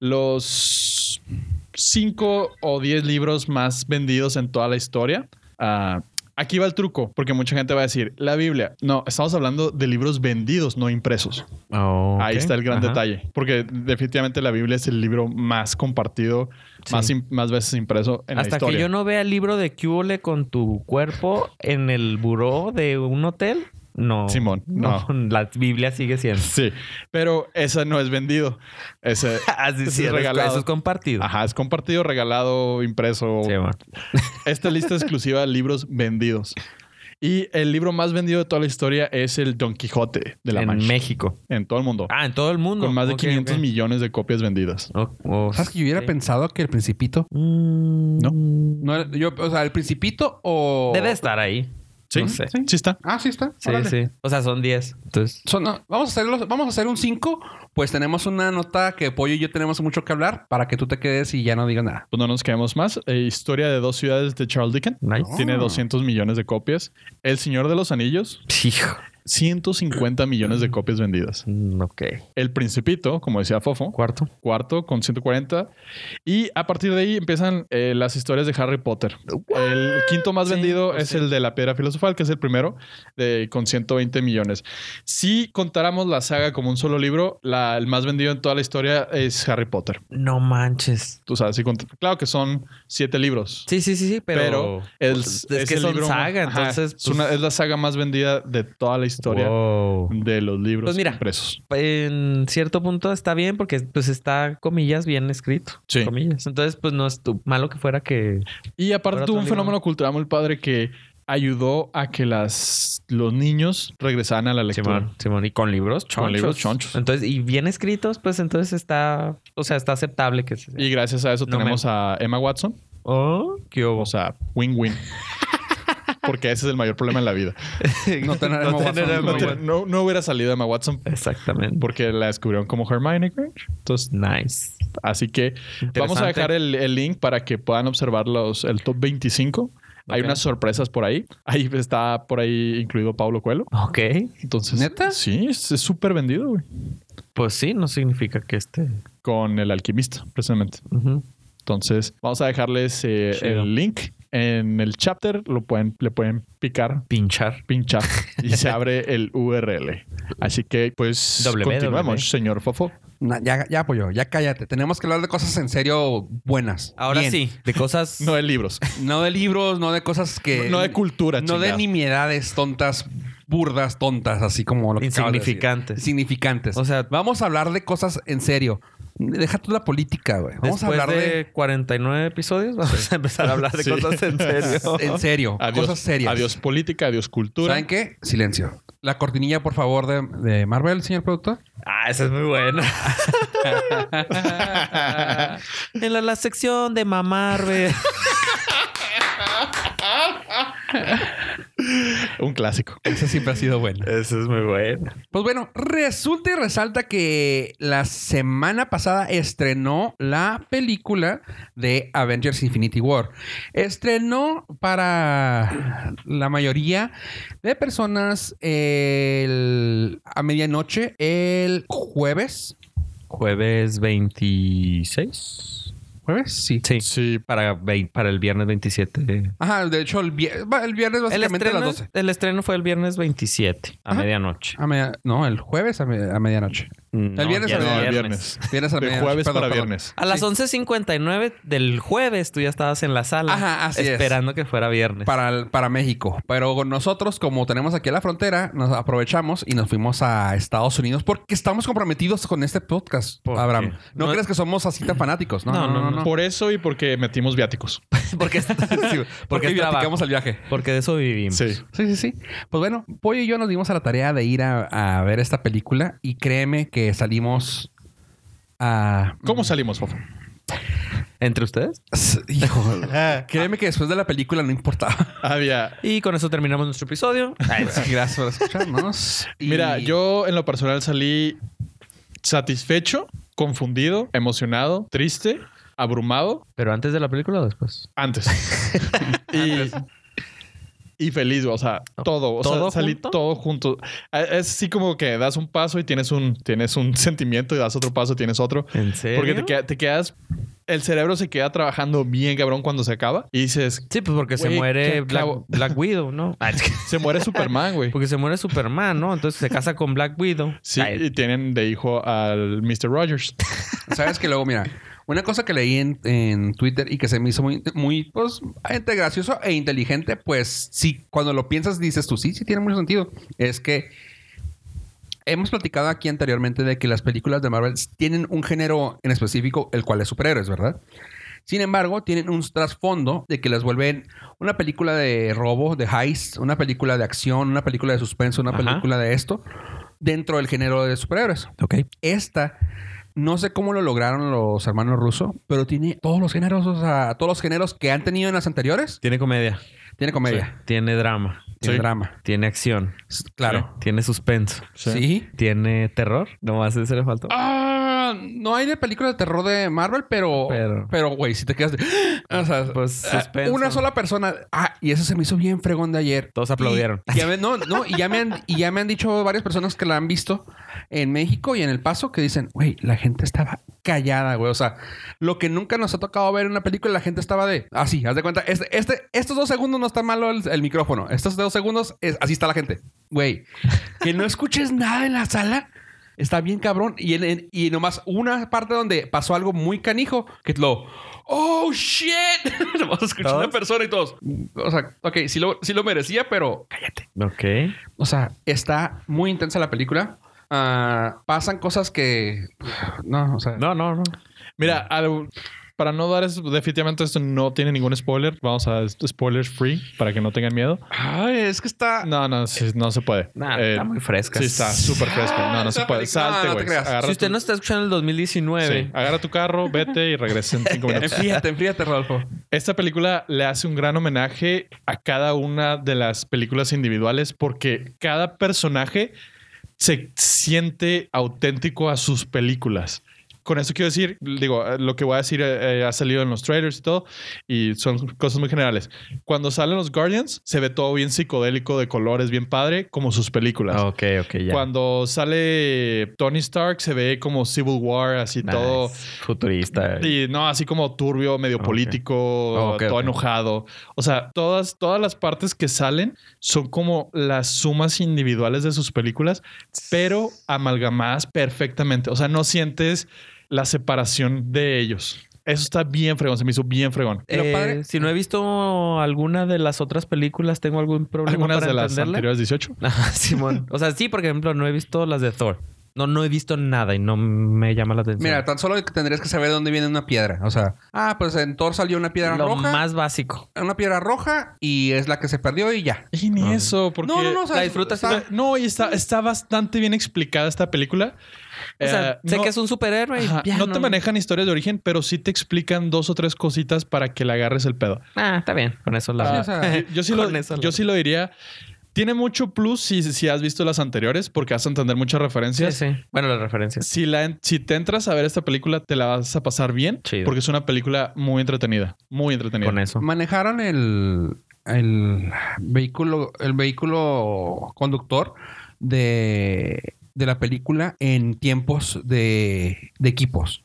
los 5 o 10 libros más vendidos en toda la historia. Ah, aquí va el truco, porque mucha gente va a decir, la Biblia. No, estamos hablando de libros vendidos, no impresos. Oh, Ahí ok. está el gran Ajá. detalle, porque definitivamente la Biblia es el libro más compartido, más, im- más veces impreso en la Hasta historia. que yo no vea el libro de Cúbole con tu cuerpo en el buró de un hotel, no. Simón, no. La Biblia sigue siendo. Sí, pero ese no es vendido. Ese, Así ese sí, es eso- regalado. Eso es compartido. Ajá, es compartido, regalado, impreso. Sí, man. Esta lista exclusiva de libros vendidos. Y el libro más vendido de toda la historia es el Don Quijote de la en Mancha. México. En todo el mundo. Ah, en todo el mundo. con más de Ok, 500 ok. millones de copias vendidas. Oh, oh, ¿Sabes que yo hubiera sí. pensado que el Principito? Mm, No, era- yo, o sea, el Principito o. Debe estar ahí. Sí, No sé. sí, sí está. Ah, sí está. Sí, Órale. sí. O sea, son 10. Entonces, Son- no, vamos, a hacerlo, vamos a hacer un 5. Pues tenemos una nota que Pollo y yo tenemos mucho que hablar para que tú te quedes y ya no digas nada. Pues no nos quedemos más. Eh, Historia de dos ciudades de Charles Dickens. nice. Tiene Ah. 200 millones de copias. El Señor de los Anillos, Hijo. 150 millones Ah. de copias vendidas. Mm, Ok. El Principito, como decía Fofo, Cuarto. cuarto con 140. Y a partir de ahí empiezan eh, las historias de Harry Potter. El quinto más Sí, vendido pues es sí. el de la piedra filosofal, que es el primero, de, con 120 millones. Si contáramos la saga como un solo libro, la- el más vendido en toda la historia es Harry Potter. No manches. Tú sabes, si cont- claro que son siete libros. Sí, sí, sí, sí, pero. Pero, el- Pues, es que el son libro- saga, Ajá, entonces, es, una- pues- es la saga más vendida de toda la historia Wow. de los libros Pues mira. impresos. En cierto punto está bien porque pues está comillas bien escrito. Sí. Comillas. Entonces, pues no es tu- malo que fuera que. Y aparte Ahora otro tuvo un libro. fenómeno cultural muy padre que ayudó a que las, los niños regresaran a la lectura. Simón, Simón. Y con libros chonchos. Con libros chonchos. Entonces, y bien escritos, pues entonces está. O sea, está aceptable que se. y gracias a eso No tenemos a Emma Watson. Oh, qué hubo. O sea, win-win. Porque ese es el mayor problema en la vida. No tener Emma Watson. tener Emma No, tiene- Watson. no- no hubiera salido Emma Watson Exactamente. porque la descubrieron como Hermione Granger. Entonces, Nice. así que vamos a Interesante. dejar el, el link para que puedan observar los, el top 25. Hay Ok. unas sorpresas por ahí. Ahí está por ahí incluido Pablo Coelho. Ok. Entonces, ¿Neta? Sí, es es súper vendido, güey. Pues sí, no significa que esté. Con el alquimista, precisamente. Ujú. Entonces, vamos a dejarles eh, Chido. el link en el chapter. Lo pueden, le pueden picar, Pinchar. pinchar y se abre el URL. Así que, pues, Doble B, continuamos, doble B. señor Fofo. Na- ya, ya, Pollo, ya cállate. Tenemos que hablar de cosas en serio buenas. Ahora Bien. sí, de cosas. No de libros, No de libros, no de cosas que. no de cultura, Eh, No de chingada. nimiedades tontas, burdas, tontas, así como lo que acabas de decir. Insignificantes. Insignificantes. O sea- vamos a hablar de cosas en serio. Deja tú la política, güey. Vamos Después a hablar de, de. 49 episodios, vamos a empezar a hablar de Sí. cosas en serio. En serio, Adiós, cosas serias. Adiós política, adiós cultura. ¿Saben qué? Silencio. La cortinilla, por favor, de, de Marvel, señor productor. Ah, esa es muy buena. en la, la sección de mamar, güey. Un clásico. Esa siempre ha sido buena. Esa es muy buena. Pues bueno, resulta y resalta que la semana pasada estrenó la película de Avengers Infinity War. Estrenó para la mayoría de personas el- a medianoche el jueves. Jueves 26. ¿Jueves? Sí. Sí. Sí, Para, vei- para el viernes 27. Ajá, de hecho, el, vier- va, el viernes El básicamente a estreno, las 12. el estreno fue el viernes 27 a Ajá. medianoche. A media- no, el jueves a, me- a medianoche. No, viernes ya a es la- no, viernes. el viernes. Viernes a De medianoche, jueves perdón, para perdón. viernes. A las 11.59 del jueves tú ya estabas en la sala. Ajá, así es. Esperando que fuera viernes. para, el- para México. Pero nosotros, como tenemos aquí a la frontera, nos aprovechamos y nos fuimos a Estados Unidos porque estamos comprometidos con este podcast, ¿Por Abraham. qué? No, No- crees que somos así tan fanáticos, ¿no? No, no, no. Por eso y porque metimos viáticos. porque, sí, Porque es trabajo. el viaje. Porque de eso vivimos. Sí. Sí, sí, sí. Pues bueno, Pollo y yo nos dimos a la tarea de ir a, a ver esta película y créeme que salimos a... ¿Cómo salimos, Fofo? ¿Entre ustedes? Hijo, créeme que después de la película no importaba. Había. Y con eso terminamos nuestro episodio. Gracias por escucharnos. Y- Mira, yo en lo personal salí satisfecho, confundido, emocionado, triste, abrumado Pero antes de la película o después. antes. y, y feliz, o sea, todo. O ¿Todo sea, salí junto? todo junto. A- Es así como que das un paso y tienes un, tienes un sentimiento y das otro paso y tienes otro. ¿En serio? Porque te, queda- te quedas el cerebro se queda trabajando bien cabrón cuando se acaba y dices, Sí, pues porque se Güey, ¿qué muere Black, acabo? Black Widow, ¿no? Ah, es que- se muere Superman, güey. Porque se muere Superman, ¿no? Entonces se casa con Black Widow. Sí, Ay, y tienen de hijo al Mr. Rogers. Sabes que luego, mira, una cosa que leí en, en Twitter y que se me hizo muy, muy, pues, entre gracioso e inteligente, pues sí, cuando lo piensas dices tú, sí, sí tiene mucho sentido. Es que hemos platicado aquí anteriormente de que las películas de Marvel tienen un género en específico, el cual es superhéroes, ¿verdad? Sin embargo, tienen un trasfondo de que las vuelven una película de robo, de heist, una película de acción, una película de suspenso, una Ajá. película de esto, dentro del género de superhéroes. Ok. Esta, no sé cómo lo lograron los hermanos rusos, pero tiene todos los géneros, o sea, todos los géneros que han tenido en las anteriores. Tiene comedia. Tiene comedia, Tiene drama. tiene Sí. drama. Tiene acción. S- Claro. Tiene suspenso. Sí. Tiene terror. Nomás ese le faltó. Ah, no hay de película de terror de Marvel, pero. Pero- Pero, güey, si te quedas. de- o sea, Pues, ah, suspenso. Una sola persona. Ah, y eso se me hizo bien fregón de ayer. Todos Y- aplaudieron. y ya me- no, no, y ya, me han, y ya me han dicho varias personas que la han visto en México y en El Paso que dicen, güey, la gente estaba callada, güey. O sea, lo que nunca nos ha tocado ver en una película, la gente estaba de así, haz de cuenta. Este, este- estos dos segundos no está malo el, el micrófono. Estos dos segundos, es, así está la gente. Güey, que no escuches nada en la sala. Está bien cabrón. Y, en- en- y nomás una parte donde pasó algo muy canijo, que lo... ¡Oh, shit! nomás escuché una ¿Todos? persona y todos. O sea, ok, sí lo, sí lo merecía, pero cállate. Ok. O sea, está muy intensa la película. Ah, pasan cosas que... No, o sea... No, no, no. Mira, al- para no dar es- definitivamente esto no tiene ningún spoiler, vamos a spoilers free para que no tengan miedo. Ay, es que está... No, no, sí, no se puede. Nah, Eh, está muy fresca. Sí, está súper fresco. No, Ah, no se esa puede. película, no, Salte, no te güey. creas. agarra, Si usted no está escuchando el tu, 2019, sí, agarra tu carro, vete y regresa en cinco minutos. Enfríate, enfríate, Rodolfo. Esta película le hace un gran homenaje a cada una de las películas individuales porque cada personaje se siente auténtico a sus películas. Con eso quiero decir, digo, eh, lo que voy a decir eh, eh, ha salido en los trailers y todo, y son cosas muy generales. Cuando salen los Guardians, se ve todo bien psicodélico, de colores, bien padre, como sus películas. Ah, ok, ok, ya. Cuando sale Tony Stark, se ve como Civil War, así Nice. todo. Futurista. Y no, así como turbio, medio Ok. político, ok, todo ok. enojado. O sea, todas, todas las partes que salen son como las sumas individuales de sus películas, pero amalgamadas perfectamente. O sea, no sientes la separación de ellos. Eso está bien fregón, se me hizo bien fregón. Pero Eh, padre- si no he visto alguna de las otras películas, tengo algún problema Algunas para de las entenderla. anteriores 18. Ajá, Simón. O sea, sí, por ejemplo, no he visto las de Thor. No, no he visto nada y no me llama la atención. Mira, tan solo tendrías que saber dónde viene una piedra. O sea, ah, pues en Thor salió una piedra lo roja. más básico. Una piedra roja y es la que se perdió y ya. Y ni eso, porque... No, no, no. O sea, la disfrutas, está- Está- no, y está, está bastante bien explicada esta película. O sea, Eh, sé no- que es un superhéroe. y Ajá, ya no te manejan historias de origen, pero sí te explican dos o tres cositas para que le agarres el pedo. Ah, está bien. Con eso la Sí, Ah, o sea, yo, yo sí lo, con eso la- yo sí lo diría. Tiene mucho plus si, si has visto las anteriores, porque vas a entender muchas Sí, referencias. sí. Bueno, las referencias. Si, la, en- si te entras a ver esta película, te la vas a pasar bien, Chido. porque es una película muy entretenida. Muy entretenida. Con eso. Manejaron el, el vehículo, el vehículo conductor de, de la película en tiempos de, de equipos.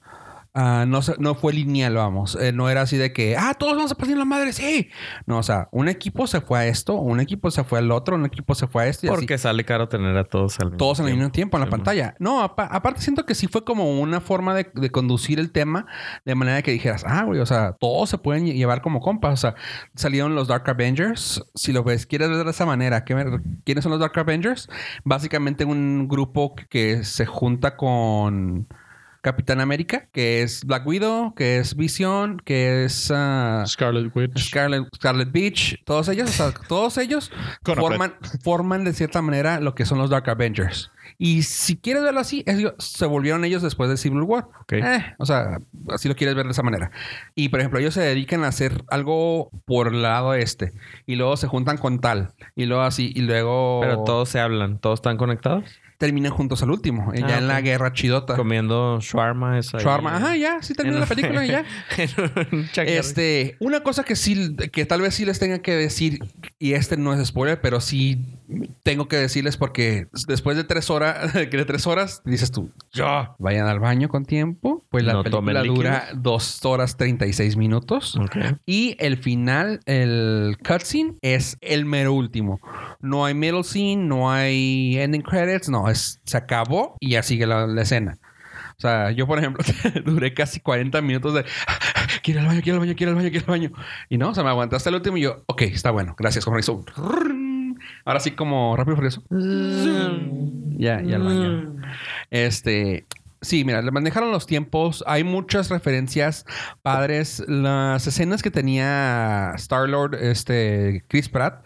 Ah, no, se- no fue lineal, vamos. Eh, no era así de que, ah, todos vamos a partir la madre, sí. No, o sea, un equipo se fue a esto, un equipo se fue al otro, un equipo se fue a esto y así. Porque sale caro tener a todos al mismo todos al tiempo. mismo tiempo en la Sí, pantalla. No, apa- aparte siento que sí fue como una forma de, de conducir el tema de manera que dijeras, ah, güey, o sea, todos se pueden lle- llevar como compas. O sea, salieron los Dark Avengers. Si lo ves, quieres ver de esa manera, ¿qué me- ¿quiénes son los Dark Avengers? Básicamente un grupo que se junta con Capitán América, que es Black Widow, que es Vision, que es... ah, Scarlet Witch. Scarlet, Scarlet Beach, todos ellos, o sea, todos ellos Con forman, forman de cierta manera lo que son los Dark Avengers. Y si quieres verlo así, ellos se volvieron ellos después de Civil War. Ok. Eh, o sea, así lo quieres ver de esa manera. Y por ejemplo, ellos se dedican a hacer algo por el lado este. Y luego se juntan con tal. Y luego así. Y luego Pero todos se hablan. Todos están conectados. terminan juntos al último. eh, ya Ah, en la ok. guerra chidota. Comiendo shawarma. Esa Shawarma. Ajá, ya. Sí termina la película y ya. este... Este, una cosa que sí, que tal vez sí les tenga que decir, y este no es spoiler, pero sí tengo que decirles porque después de tres horas, de tres horas, dices tú, yo, vayan al baño con tiempo. Pues la No tomen película dura dos horas 36 minutos. Y el final, el cutscene, es el mero último. No hay middle scene, no hay ending credits, no, es, se acabó y ya sigue la, la escena. O sea, yo, por ejemplo, duré casi 40 minutos de "Ah, quiero ir al baño, quiero ir al baño, quiero ir al baño, quiero ir al baño. Y no, o sea, me aguanté hasta el último y yo, ok, está bueno, gracias, con eso. Ahora sí, como rápido y furioso. Ah, Ya, ya al baño. Este. Sí, mira, le manejaron los tiempos. Hay muchas referencias padres. Las escenas que tenía Star-Lord, este, Chris Pratt,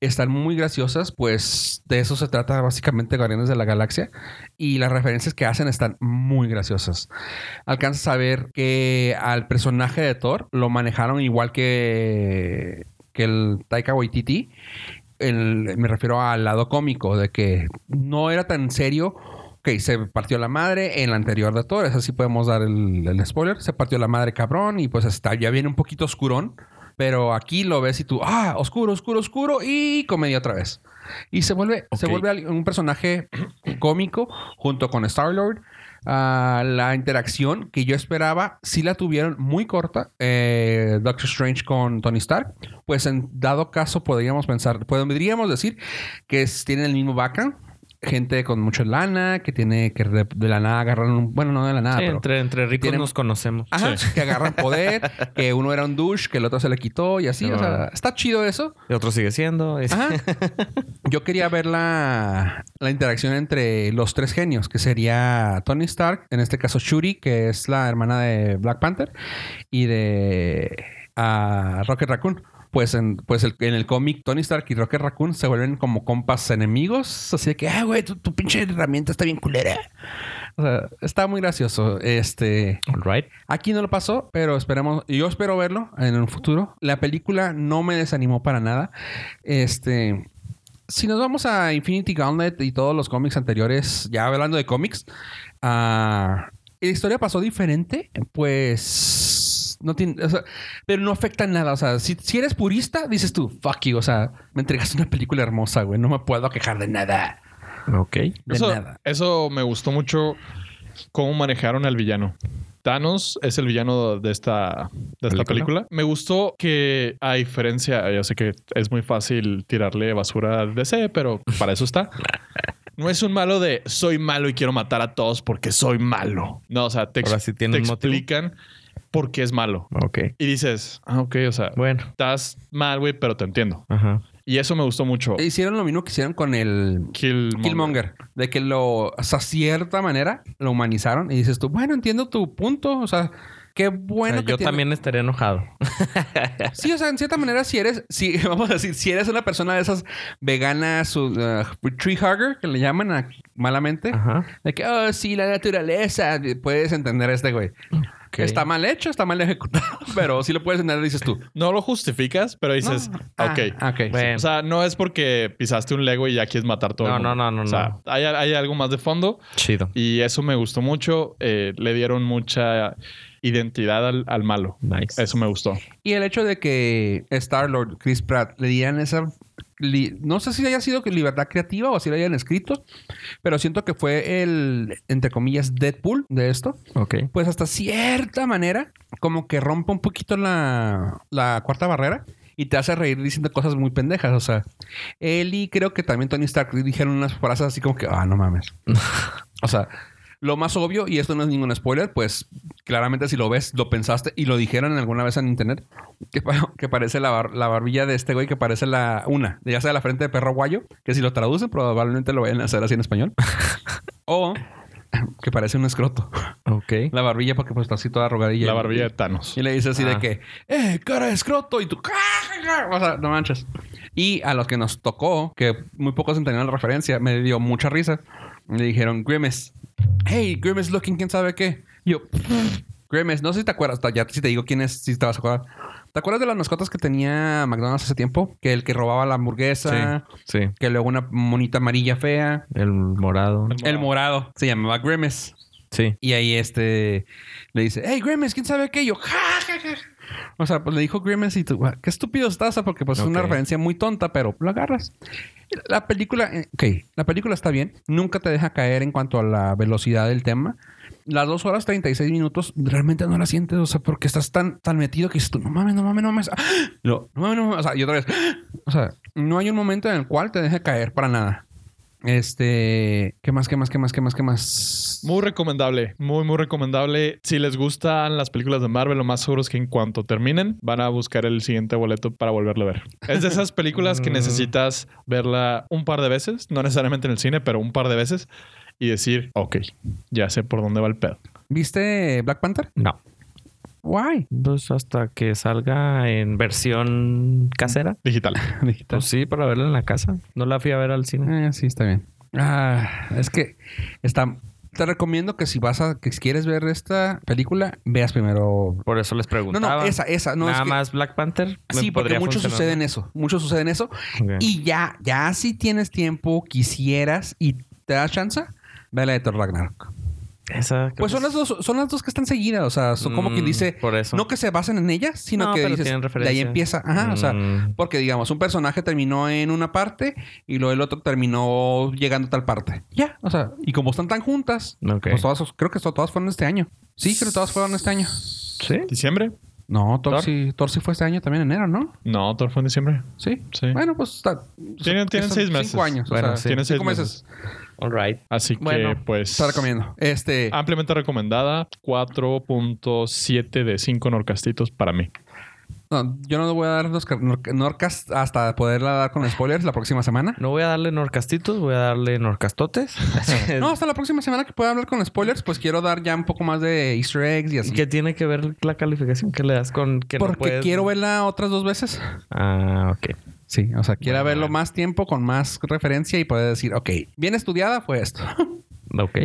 están muy graciosas, pues de eso se trata básicamente Guardianes de la Galaxia. Y las referencias que hacen están muy graciosas. Alcanzas a ver que al personaje de Thor lo manejaron igual que, que el Taika Waititi. El- me refiero al lado cómico, de que no era tan serio. Ok, se partió la madre en la anterior de Thor. Eso sí podemos dar el, el spoiler. Se partió la madre cabrón y pues está ya viene un poquito oscurón. Pero aquí lo ves y tú, ah, oscuro, oscuro, oscuro y comedia otra vez. Y se vuelve, se Ok. vuelve al- un personaje cómico junto con Star-Lord. Ah, la interacción que yo esperaba, sí la tuvieron muy corta. eh, Doctor Strange con Tony Stark. Pues en dado caso podríamos pensar, podríamos decir que es- tienen el mismo background. Gente con mucha lana, que tiene que de, de la nada agarrar un... Bueno, no de la nada, Sí, Ah, pero... entre, entre ricos tienen- Ah. nos conocemos. Ajá, Sí. que agarran poder, que uno era un douche, que el otro se le quitó y así. O sea, está chido eso. Y otro sigue siendo. es- Ajá. Yo quería ver la, la interacción entre los tres genios, que sería Tony Stark, en este caso Shuri, que es la hermana de Black Panther, y de ah, Rocket Raccoon. Pues en, pues el- en el cómic, Tony Stark y Rocket Raccoon se vuelven como compas enemigos. Así de que, ah, güey, tu, tu pinche herramienta está bien culera. O sea, está muy gracioso. Este. All right. Aquí no lo pasó, pero esperamos. Yo espero verlo en un futuro. La película no me desanimó para nada. Este. Si nos vamos a Infinity Gauntlet y todos los cómics anteriores, ya hablando de cómics, ah, la historia pasó diferente, pues. No tiene, o sea, pero no afecta en nada. O sea, si, si eres purista, dices tú, fuck you. O sea, me entregaste una película hermosa, güey. No me puedo quejar de nada. Ok. De eso, nada. eso me gustó mucho cómo manejaron al villano. Thanos es el villano de esta, de esta película. Me gustó que, a diferencia, yo sé que es muy fácil tirarle basura al DC, pero para eso está. No es un malo de soy malo y quiero matar a todos porque soy malo. No, o sea, te, ex- Ahora sí tiene te un motivo. explican por qué es malo. Ok. Y dices, ah, ok, o sea, Bueno. estás mal, güey, pero te entiendo. Ajá. Y eso me gustó mucho. Hicieron lo mismo que hicieron con el Killmonger. Killmonger, de que lo, o sea, cierta manera lo humanizaron y dices tú, bueno, entiendo tu punto, o sea, qué bueno O sea, que Eh, yo tiene- también estaría enojado. Sí, o sea, en cierta manera si eres, si vamos a decir, si eres una persona de esas veganas o uh, tree hugger que le llaman a- malamente, Ajá. de que oh, sí, la naturaleza, puedes entender a este güey. Está mal hecho, está mal ejecutado, pero sí lo puedes entender, dices tú. No lo justificas, pero dices, No. ok. Ah, ok. Bueno. O sea, no es porque pisaste un Lego y ya quieres matar todo. el No, mundo. no, no, no, O sea, no. Hay, hay algo más de fondo Chido. y eso me gustó mucho. Eh, le dieron mucha identidad al, al malo. Nice. Eso me gustó. Y el hecho de que Star-Lord, Chris Pratt, le dieran esa... li- no sé si haya sido que libertad creativa o si la hayan escrito, pero siento que fue el, entre comillas, Deadpool de esto. Ok. Pues hasta cierta manera, como que rompe un poquito la, la cuarta barrera y te hace reír diciendo cosas muy pendejas. O sea, él y creo que también Tony Stark dijeron unas frases así como que, ah, no mames. o sea, lo más obvio, y esto no es ningún spoiler, pues claramente si lo ves, lo pensaste y lo dijeron alguna vez en internet, que, pa- que parece la, bar- la barbilla de este güey, que parece la una, ya sea la frente de perro guayo, que si lo traducen probablemente lo vayan a hacer así en español, o que parece un escroto, Ok. la barbilla porque pues está así toda arrugadilla. La barbilla de Thanos. Y le dice así de Ah. que, ¡eh, cara de escroto! Y tú, "Ah". o sea, no manches. Y a los que nos tocó, que muy pocos entendieron la referencia, me dio mucha risa. Le dijeron, Grimace, hey, Grimace looking, quién sabe qué. Y yo, Grimace, no sé si te acuerdas, ya si te digo quién es, si te vas a acordar. ¿Te acuerdas de las mascotas que tenía McDonald's hace tiempo? Que el que robaba la hamburguesa, Sí. que luego una monita amarilla fea. El morado. El morado se llamaba Grimace. Sí. Y ahí este le dice, hey Grimes, ¿quién sabe qué? Y yo, "Ja, ja, ja". O sea, pues le dijo Grimace y tú, "Ah, qué estúpido estás, ah, porque pues es una Ok. referencia muy tonta, pero lo agarras. La película, eh, ok, la película está bien, nunca te deja caer en cuanto a la velocidad del tema. Las dos horas 36 minutos realmente no la sientes, o sea, porque estás tan, tan metido que dices tú, no mames, no mames, no mames. ah, No, no mames, no mames. O sea, y otra vez, "Ah". o sea, no hay un momento en el cual te deje caer para nada. Este, ¿qué más, qué más, qué más, qué más, qué más? Muy recomendable, muy, muy recomendable. Si les gustan las películas de Marvel, lo más seguro es que en cuanto terminen, van a buscar el siguiente boleto para volverlo a ver. Es de esas películas que necesitas verla un par de veces, no necesariamente en el cine, pero un par de veces, y decir, ok, ya sé por dónde va el pedo. ¿Viste Black Panther? No. Why? Pues hasta que salga en versión Mm, casera. Digital. Digital. Pues sí, para verla en la casa. No la fui a ver al cine. Ah, sí, está bien. Ah, es que está. Te recomiendo que si vas a, que si quieres ver esta película, veas primero. Por eso les Mm. No, preguntaba. no, esa, esa, no Nada es que- más Black Panther. me Sí, porque podría mucho funcionar. sucede en eso. Mucho sucede en eso. Ok. Y ya, ya si tienes tiempo, quisieras y te das chance, ve la de Thor Ragnarok. Esa, creo Pues que son las dos, son las dos que están seguidas. O sea, son como quien Mm, dice, por eso. no que se basen en ellas, sino No, que pero dices, tienen de ahí referencia. empieza. Ajá, o sea, Mm. porque digamos, un personaje terminó en una parte y luego el otro terminó llegando a tal parte. Ya, o sea, y como están tan juntas, Ok. pues todas, creo que so- todas fueron este año. Sí, creo que todas fueron este año. Sí. ¿Diciembre? No, Thor, ¿Thor? Sí, Thor sí fue este año también, enero, ¿no? No, Thor fue en diciembre. Sí. Sí. Bueno, pues está. Tienen- son- tienen son seis meses. Cinco años. Bueno, o sea, sí. Tienen seis cinco meses. meses. All right. Así que, Bueno, pues, Te recomiendo. Este. ampliamente recomendada, 4.7 de 5 norcastitos para mí. no, yo no voy a dar los nor- Norcas hasta poderla dar con spoilers la próxima semana. No voy a darle norcastitos, voy a darle norcastotes. No, hasta la próxima semana que pueda hablar con spoilers, pues quiero dar ya un poco más de Easter eggs y así. ¿Qué tiene que ver la calificación que le das con que no Porque puedes- quiero verla otras dos veces. Ah, ok. Sí, o sea, quiero Bueno, verlo bueno. más tiempo con más referencia y poder decir, ok, bien estudiada fue esto. Ok.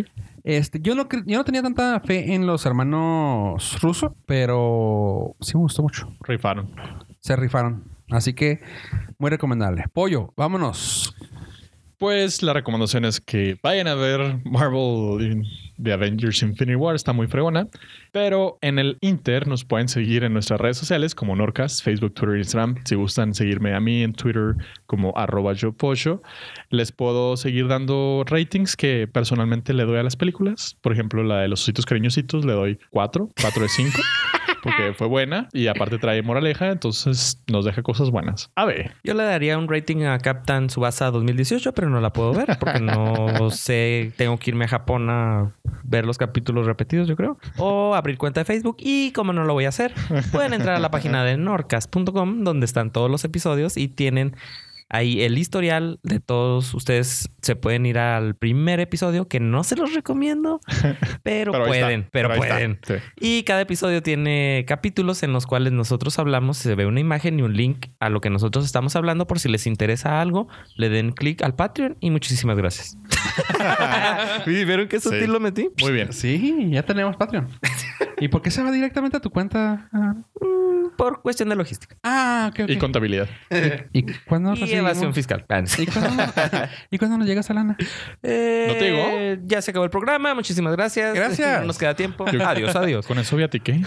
Este, yo no, cre- yo no tenía tanta fe en los hermanos rusos, pero sí me gustó mucho. Rifaron. Se rifaron. Así que muy recomendable. Pollo, vámonos. Pues la recomendación es que vayan a ver Marvel in- The Avengers Infinity War, está muy fregona. Pero en el Inter nos pueden seguir en nuestras redes sociales como Norcas, Facebook, Twitter, Instagram. Si gustan seguirme a mí en Twitter como arroba yo pollo, les puedo seguir dando ratings que personalmente le doy a las películas. Por ejemplo, la de los ositos cariñositos le doy 4, 4 de 5. Porque fue buena y aparte trae moraleja, entonces nos deja cosas buenas. A ver, Yo le daría un rating a Captain Subasa 2018, pero no la puedo ver porque no sé. Tengo que irme a Japón a ver los capítulos repetidos, yo creo. O abrir cuenta de Facebook. Y como no lo voy a hacer, pueden entrar a la página de norcas.com donde están todos los episodios y tienen ahí el historial de todos. Ustedes se pueden ir al primer episodio que no se los recomiendo, pero, ahí está, pueden, pero, ahí está. pueden. Sí. Y cada episodio tiene capítulos en los cuales nosotros hablamos, se ve una imagen y un link a lo que nosotros estamos hablando por si les interesa algo, le den clic al Patreon y muchísimas gracias. Sí, ¿Vieron qué sutil Sí. lo metí? Muy bien. Sí, ya tenemos Patreon. ¿Y por qué se va directamente a tu cuenta? Ah, Por cuestión de logística Ah, ok, ok. Y contabilidad. ¿Y cuándo y recibimos- evasión fiscal. Ah, no sé. pues ¿Y cuándo, ¿Y cuándo nos llega esa lana? Eh, ¿No te Ya se acabó el programa, muchísimas gracias. Gracias. No nos queda tiempo. Yo- Adiós, adiós. Pues, Con eso viatiqué.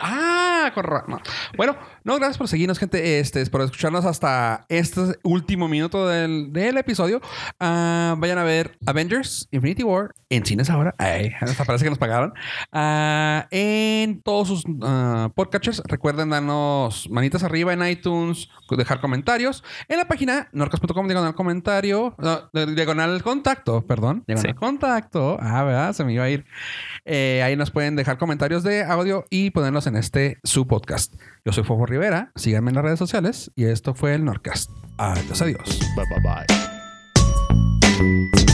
Ah, con ra- no. Bueno, no, gracias por seguirnos, gente. Este, por escucharnos hasta este último minuto del, del episodio. Ah, vayan a ver Avengers Infinity War en cines ahora. Ay, hasta parece que nos pagaron. Ah, en todos sus ah, podcatchers. Recuerden darnos manitas arriba en iTunes, dejar comentarios. En la página norcas.com, diagonal comentario, no, diagonal contacto, perdón. Diagonal Sí. contacto. Ah, ¿verdad? Se me iba a ir. Eh, ahí nos pueden dejar comentarios de audio y ponerlos en este su podcast. Yo soy Fofo Rivera, síganme en las redes sociales y esto fue el Norcast. Adiós, adiós. Bye bye bye.